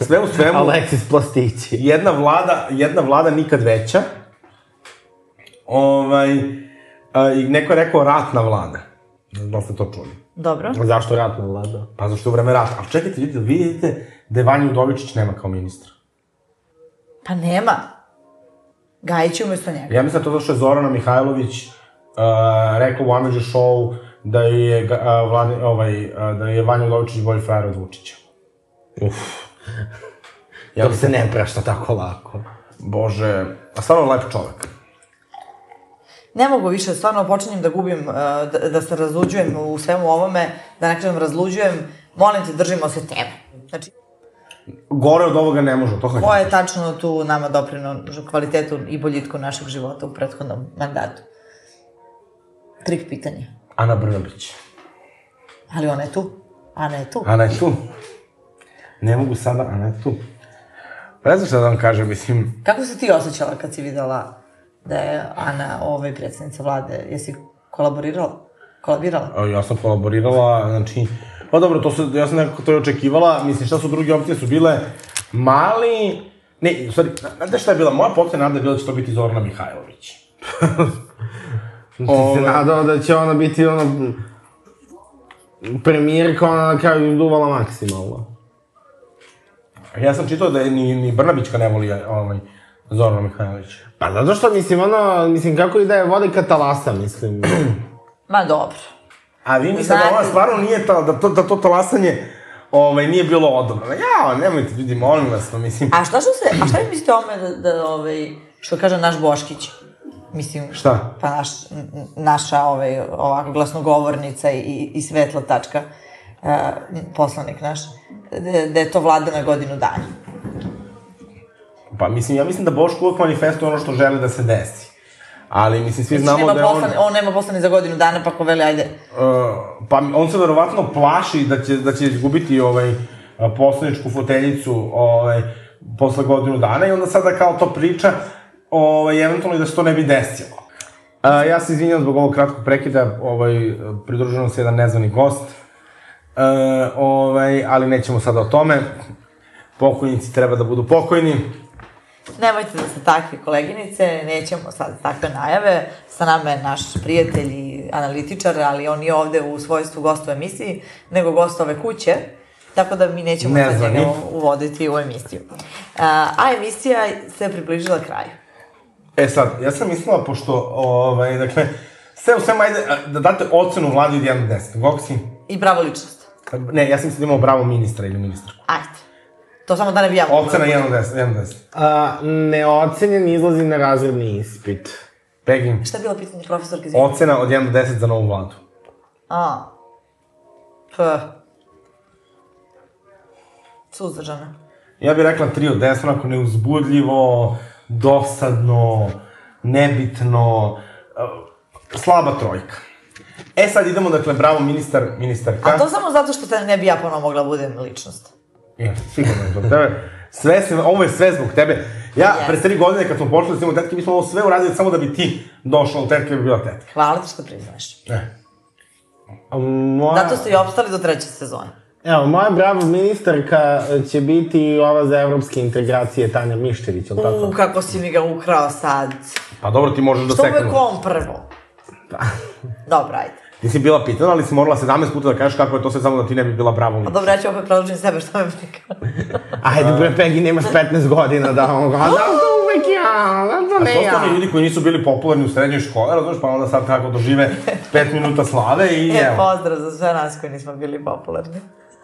[SPEAKER 3] Sve u svemu,
[SPEAKER 1] Aleksis Plastići.
[SPEAKER 3] jedna vlada, jedna vlada nikad veća. Ovaj, a, i neko je rekao ratna vlada. Ne znam da li ste to čuli.
[SPEAKER 5] Dobro.
[SPEAKER 1] Zašto ratna vlada?
[SPEAKER 3] Pa zašto je u vreme rata? Ali čekajte, vidite, vidite da je Vanja Udovičić nema kao ministra.
[SPEAKER 5] Pa nema. Gajić je umjesto njega.
[SPEAKER 3] Ja mislim da to zato što je Zorana Mihajlović uh, rekla u Amidžu show da je, uh, vladi, ovaj, uh, da je Vanja Udovičić bolji frajer od Vučića. Uf.
[SPEAKER 1] Ja to se ne prašta tako lako.
[SPEAKER 3] Bože, a stvarno lep čovek.
[SPEAKER 5] Ne mogu više, stvarno počinjem da gubim, uh, da, da se razluđujem u svemu ovome, da ne kažem razluđujem, molim te držimo se teme. Znači,
[SPEAKER 3] Gore od ovoga ne može, to hoće.
[SPEAKER 5] ko je tačno tu nama doprino kvalitetu i boljitku našeg života u prethodnom mandatu? Trik pitanje.
[SPEAKER 3] Ana Brnabić.
[SPEAKER 5] Ali ona je tu. Ana je tu.
[SPEAKER 3] Ana je tu. Ne mogu sada, Ana je tu. Pa ne znam šta da vam kažem, mislim,
[SPEAKER 5] Kako se ti osjećala kad si videla da je Ana ovaj predsjednica vlade? Jesi kolaborirala? Kolabirala?
[SPEAKER 3] a, ja sam kolaborirala, znači, pa dobro, to su, ja sam nekako to i očekivala, mislim, šta su druge opcije, su bile mali, ne, u stvari, zna- znate šta je bila, moja popcija nada je bila da će to biti Zorana Mihajlović.
[SPEAKER 1] Ti se nadao da će ona biti ono premijerka, ona na kraju duvala maksimalno.
[SPEAKER 3] Ja sam čitao da je ni, ni Brnabićka ne voli ovaj, Zorana Mihajlović.
[SPEAKER 1] Pa
[SPEAKER 3] da.
[SPEAKER 1] zato što, mislim, ono, mislim, kako i da je vode katalasa, mislim.
[SPEAKER 5] Ma dobro.
[SPEAKER 3] A vi mislite da
[SPEAKER 5] Znate-
[SPEAKER 3] ona stvarno nije ta, da to, da to talasanje ovaj, nije bilo odobrano. Ja, nemojte, ljudi, molim vas, no, mislim,
[SPEAKER 5] A šta što se, a šta vi mislite o ome da, da ovaj, što kaže naš Boškić? Mislim,
[SPEAKER 3] šta?
[SPEAKER 5] pa naš, n- n- naša ovaj, ovako glasnogovornica i, i svetla tačka, uh, poslanik naš, da da je to vlada na godinu dana.
[SPEAKER 3] Pa mislim, ja mislim da Boško uvek manifestuje ono što želi da se desi. Ali mislim, svi
[SPEAKER 5] Znamo
[SPEAKER 3] znamo
[SPEAKER 5] Znači, nema
[SPEAKER 3] da je on...
[SPEAKER 5] posla, on... nema posla ni za godinu dana, pa ko veli, ajde,
[SPEAKER 3] Uh, pa on se verovatno plaši da će, da će izgubiti ovaj, uh, poslaničku foteljicu ovaj, posle godinu dana i onda sada kao to priča ovaj, eventualno i da se to ne bi desilo. A, ja se izvinjam zbog ovog kratkog prekida, ovaj, pridružio nam se jedan nezvani gost, e, ovaj, ali nećemo sada o tome. Pokojnici treba da budu pokojni.
[SPEAKER 5] Nemojte da ste takvi koleginice, nećemo sad takve najave. Sa nama je naš prijatelj i analitičar, ali on je ovde u svojstvu gosta u emisiji, nego gost ove kuće. Tako da mi nećemo sad
[SPEAKER 3] Nezvani.
[SPEAKER 5] njega uvoditi u emisiju. A, a emisija se približila kraju.
[SPEAKER 3] E sad, ja sam mislila, pošto, ovaj, dakle, sve u svemu, ajde, a, da date ocenu vladi od 1 do 10. Koliko si?
[SPEAKER 5] I bravo ličnost.
[SPEAKER 3] Ne, ja sam mislila da imao bravo ministra ili ministarku.
[SPEAKER 5] Ajde. To samo da ne bijamo.
[SPEAKER 3] Ocena 1 do 10, 1 do 10.
[SPEAKER 1] A, neocenjen izlazi na razredni ispit.
[SPEAKER 3] Peggy,
[SPEAKER 5] Šta je bilo pitanje profesorke? Izvinite.
[SPEAKER 3] ocena od 1 do 10 za novu vladu.
[SPEAKER 5] A. P. Suzdržana.
[SPEAKER 3] Ja bih rekla 3 od 10, onako neuzbudljivo, dosadno, nebitno, e, slaba trojka. E sad idemo, dakle, bravo ministar, ministarka.
[SPEAKER 5] A to samo zato što te ne bi ja ponovo mogla budem ličnost.
[SPEAKER 3] Ja, E, sigurno je zbog tebe. Sve se, ovo je sve zbog tebe. Ja,
[SPEAKER 5] Jeste.
[SPEAKER 3] yes. pre tri godine kad smo počeli s tim tetke, mi smo ovo sve uradili samo da bi ti došla u tetke i bi bila tetka.
[SPEAKER 5] Hvala ti što priznaš.
[SPEAKER 3] E.
[SPEAKER 1] A Moja,
[SPEAKER 5] Zato ste i opstali do treće sezone.
[SPEAKER 1] Evo, moja brava ministarka će biti ova za evropske integracije Tanja Miščević, ili tako?
[SPEAKER 5] U, kako si mi ga ukrao sad.
[SPEAKER 3] Pa dobro, ti možeš da
[SPEAKER 5] Što uvek
[SPEAKER 3] seknemo.
[SPEAKER 5] on prvo? Dobro, ajde.
[SPEAKER 3] Ti si bila pitana, ali si morala 17 puta da kažeš kako je to sve samo da ti ne bi bila bravo
[SPEAKER 5] Pa
[SPEAKER 3] lica.
[SPEAKER 5] dobro, ja ću opet predložiti sebe što me prika.
[SPEAKER 1] Ajde, bre, Peggy, nemaš
[SPEAKER 5] Pa
[SPEAKER 1] 15 godina da on ga... Da, to uvek ja, da, to
[SPEAKER 3] A
[SPEAKER 1] ne
[SPEAKER 3] to su
[SPEAKER 1] ja.
[SPEAKER 3] oni ljudi koji nisu bili popularni u srednjoj školi, razumeš, pa onda sad kako dožive 5 minuta slave i
[SPEAKER 5] E,
[SPEAKER 3] evo.
[SPEAKER 5] pozdrav za sve nas koji nismo bili popularni.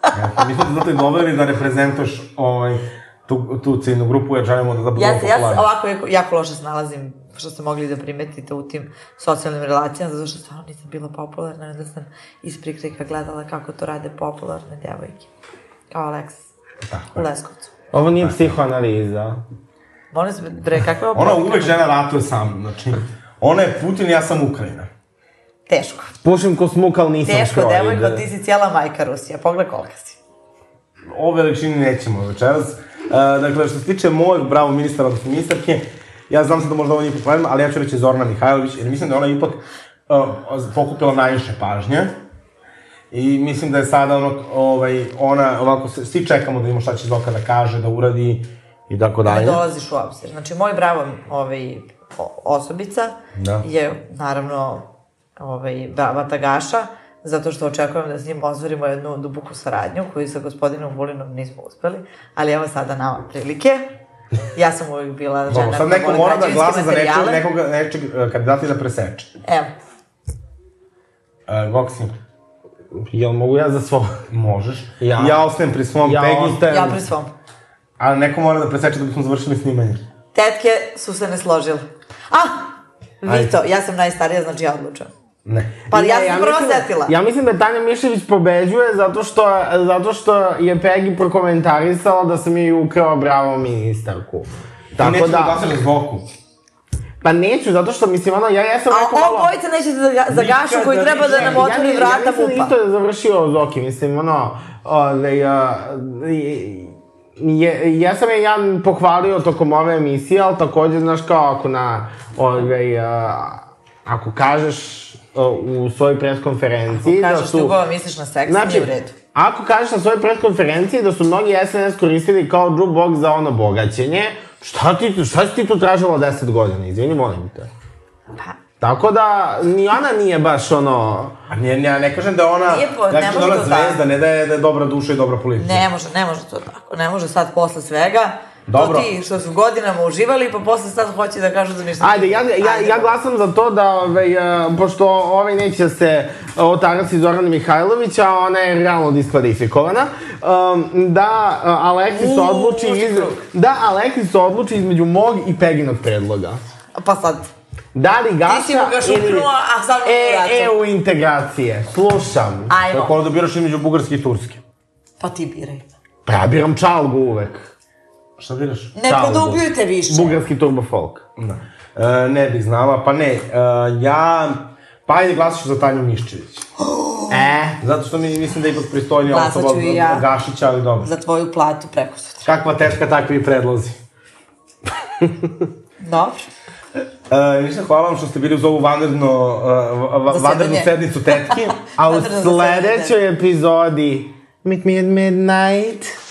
[SPEAKER 3] Eto, Mi smo te zato i doveli da reprezentaš ovaj, tu, tu ciljnu grupu, jer želimo da, da budemo
[SPEAKER 5] Ja se, ja se
[SPEAKER 3] popularni.
[SPEAKER 5] ovako jako, jako loše snalazim, što ste mogli da primetite u tim socijalnim relacijama, zato što stvarno nisam bila popularna, onda sam iz prikrika gledala kako to rade popularne djevojke. Kao Alexis. Tako u Leskovcu.
[SPEAKER 1] Ovo nije psihoanaliza.
[SPEAKER 5] Molim se, bre, kakve ovo...
[SPEAKER 3] Ona uvek žena ratuje sam, znači, ona je Putin, ja sam Ukrajina.
[SPEAKER 5] Teško.
[SPEAKER 1] Pušim ko smuk, ali nisam
[SPEAKER 5] Teško,
[SPEAKER 1] Freud.
[SPEAKER 5] devojko, ti si cijela majka Rusija. Pogledaj kolika si.
[SPEAKER 3] o veličini nećemo večeras. E, dakle, što se tiče mojeg bravo ministra, odnosno ministarke, ja znam sad da možda ovo nije popularno, ali ja ću reći Zorna Mihajlović, jer mislim da je ona ipak uh, pokupila najviše pažnje. I mislim da je sada ono, ovaj, ona, ovako, se- svi čekamo da vidimo šta će Zoka da kaže, da uradi i tako
[SPEAKER 5] Ne
[SPEAKER 3] dalje.
[SPEAKER 5] dolaziš u obzir. Znači, moj bravo ovaj, o- osobica
[SPEAKER 3] Da.
[SPEAKER 5] je, naravno, ovaj, brava tagaša, zato što očekujem da s njim ostvarimo jednu duboku saradnju, koju sa gospodinom Vulinom nismo uspeli, ali evo sada nama prilike. Ja sam uvijek bila žena
[SPEAKER 3] Dobro, sad
[SPEAKER 5] koja
[SPEAKER 3] neko
[SPEAKER 5] voli
[SPEAKER 3] mora da
[SPEAKER 5] građevinske
[SPEAKER 3] glasa za nečeg,
[SPEAKER 5] dakle, materijale.
[SPEAKER 3] nekog, nečeg e, kandidata i da preseče.
[SPEAKER 5] Evo,
[SPEAKER 3] E, Goksi,
[SPEAKER 1] Jel mogu ja za svoj?
[SPEAKER 3] možeš.
[SPEAKER 1] Ja.
[SPEAKER 3] Ja, ja ostajem pri svom
[SPEAKER 1] Ja
[SPEAKER 3] ja Peggy,
[SPEAKER 1] ostajem.
[SPEAKER 5] ja pri svom.
[SPEAKER 3] ali neko mora da preseče da bismo završili snimanje.
[SPEAKER 5] Tetke su se ne složile. Ah,
[SPEAKER 3] Ajde.
[SPEAKER 5] Vito, ja sam najstarija, znači ja odlučujem.
[SPEAKER 3] Ne.
[SPEAKER 5] Pa ja,
[SPEAKER 1] Ne,
[SPEAKER 5] sam prvo
[SPEAKER 1] mislim da-
[SPEAKER 5] setila.
[SPEAKER 1] Ja mislim da Tanja Mišević pobeđuje zato što, zato što je Peggy prokomentarisala da sam joj ukrao bravo ministarku.
[SPEAKER 3] Tako
[SPEAKER 1] Tako
[SPEAKER 3] nećeš da...
[SPEAKER 1] da,
[SPEAKER 3] glasaš za Zoku.
[SPEAKER 1] Pa neću, zato što mislim, ono, ja jesam
[SPEAKER 5] A
[SPEAKER 1] neko
[SPEAKER 5] ovo
[SPEAKER 1] malo...
[SPEAKER 5] bojica nećete za, da ga- za
[SPEAKER 3] Nikada
[SPEAKER 5] gašu koji treba da nam
[SPEAKER 3] više.
[SPEAKER 5] otvori
[SPEAKER 1] ne-
[SPEAKER 5] vrata
[SPEAKER 1] ja nisam
[SPEAKER 5] mupa.
[SPEAKER 1] isto završio Zoki, mislim, ono, ovaj, a, i- je, ja sam je ja pohvalio tokom ove emisije, ali takođe, znaš, kao ako na, ovaj, a, ako kažeš a, u svojoj preskonferenciji da
[SPEAKER 5] Kažeš
[SPEAKER 1] su...
[SPEAKER 5] dugo, misliš na seks, znači, nije u redu.
[SPEAKER 1] Ako kažeš na svojoj preskonferenciji da su mnogi SNS koristili kao jukebox za ono bogaćenje, šta, ti, šta si ti tu tražila 10 godina? Izvini, molim te.
[SPEAKER 5] Pa,
[SPEAKER 1] Tako da, ni ona nije baš ono...
[SPEAKER 3] A ne, ja ne kažem da je ona,
[SPEAKER 5] Nije po-
[SPEAKER 3] ja
[SPEAKER 5] ne
[SPEAKER 3] kažem da
[SPEAKER 5] može
[SPEAKER 3] je ona
[SPEAKER 5] to tako.
[SPEAKER 3] zvezda, ne da je, da je dobra duša i dobra politika.
[SPEAKER 5] ne može, ne može to tako. Ne može sad posle svega.
[SPEAKER 3] Dobro.
[SPEAKER 5] To ti što su godinama uživali, pa posle sad hoće da kažu da ništa.
[SPEAKER 1] Ajde, ja, ja, ja glasam za to da, ovaj, e, pošto ovaj neće da se otarasi Zorana Mihajlovića, a ona je realno diskvalifikovana, um, da e, Aleksis
[SPEAKER 5] Uuu,
[SPEAKER 1] odluči
[SPEAKER 5] uži
[SPEAKER 1] iz,
[SPEAKER 5] krug.
[SPEAKER 1] da Aleksis odluči između mog i Peginog predloga.
[SPEAKER 5] Pa sad,
[SPEAKER 1] Da li
[SPEAKER 5] ti si mu ga
[SPEAKER 1] Gaša ili
[SPEAKER 5] šupnuo, a sad mi
[SPEAKER 1] e,
[SPEAKER 5] vraćam.
[SPEAKER 1] EU integracije? Slušam.
[SPEAKER 5] Ajmo.
[SPEAKER 3] Tako da biraš između Bugarske i Turske.
[SPEAKER 5] Pa ti biraj.
[SPEAKER 1] Pa ja biram čalgu uvek.
[SPEAKER 3] Šta biraš?
[SPEAKER 5] Ne
[SPEAKER 1] Čao,
[SPEAKER 5] produbljujte više.
[SPEAKER 1] Bugarski turbo folk.
[SPEAKER 3] Da. E, ne bih znala, pa ne, e, ja... Pa ajde glasaš za Tanju Miščević.
[SPEAKER 1] E,
[SPEAKER 3] Zato što mi, mislim da je ipak pristojnija
[SPEAKER 5] Glasat
[SPEAKER 3] osoba
[SPEAKER 5] ću
[SPEAKER 3] od,
[SPEAKER 5] i
[SPEAKER 3] od
[SPEAKER 5] ja.
[SPEAKER 3] Gašića, ali dobro.
[SPEAKER 5] Za tvoju platu preko sutra.
[SPEAKER 3] Kakva teška, takvi i predlozi.
[SPEAKER 5] Dobro.
[SPEAKER 3] E, ništa, hvala vam što ste bili uz ovu vanredno, uh, va- vanrednu
[SPEAKER 5] Zasedanje.
[SPEAKER 3] sednicu tetki.
[SPEAKER 1] A u
[SPEAKER 5] Vanredno zasedanje.
[SPEAKER 1] sledećoj epizodi Meet me at midnight.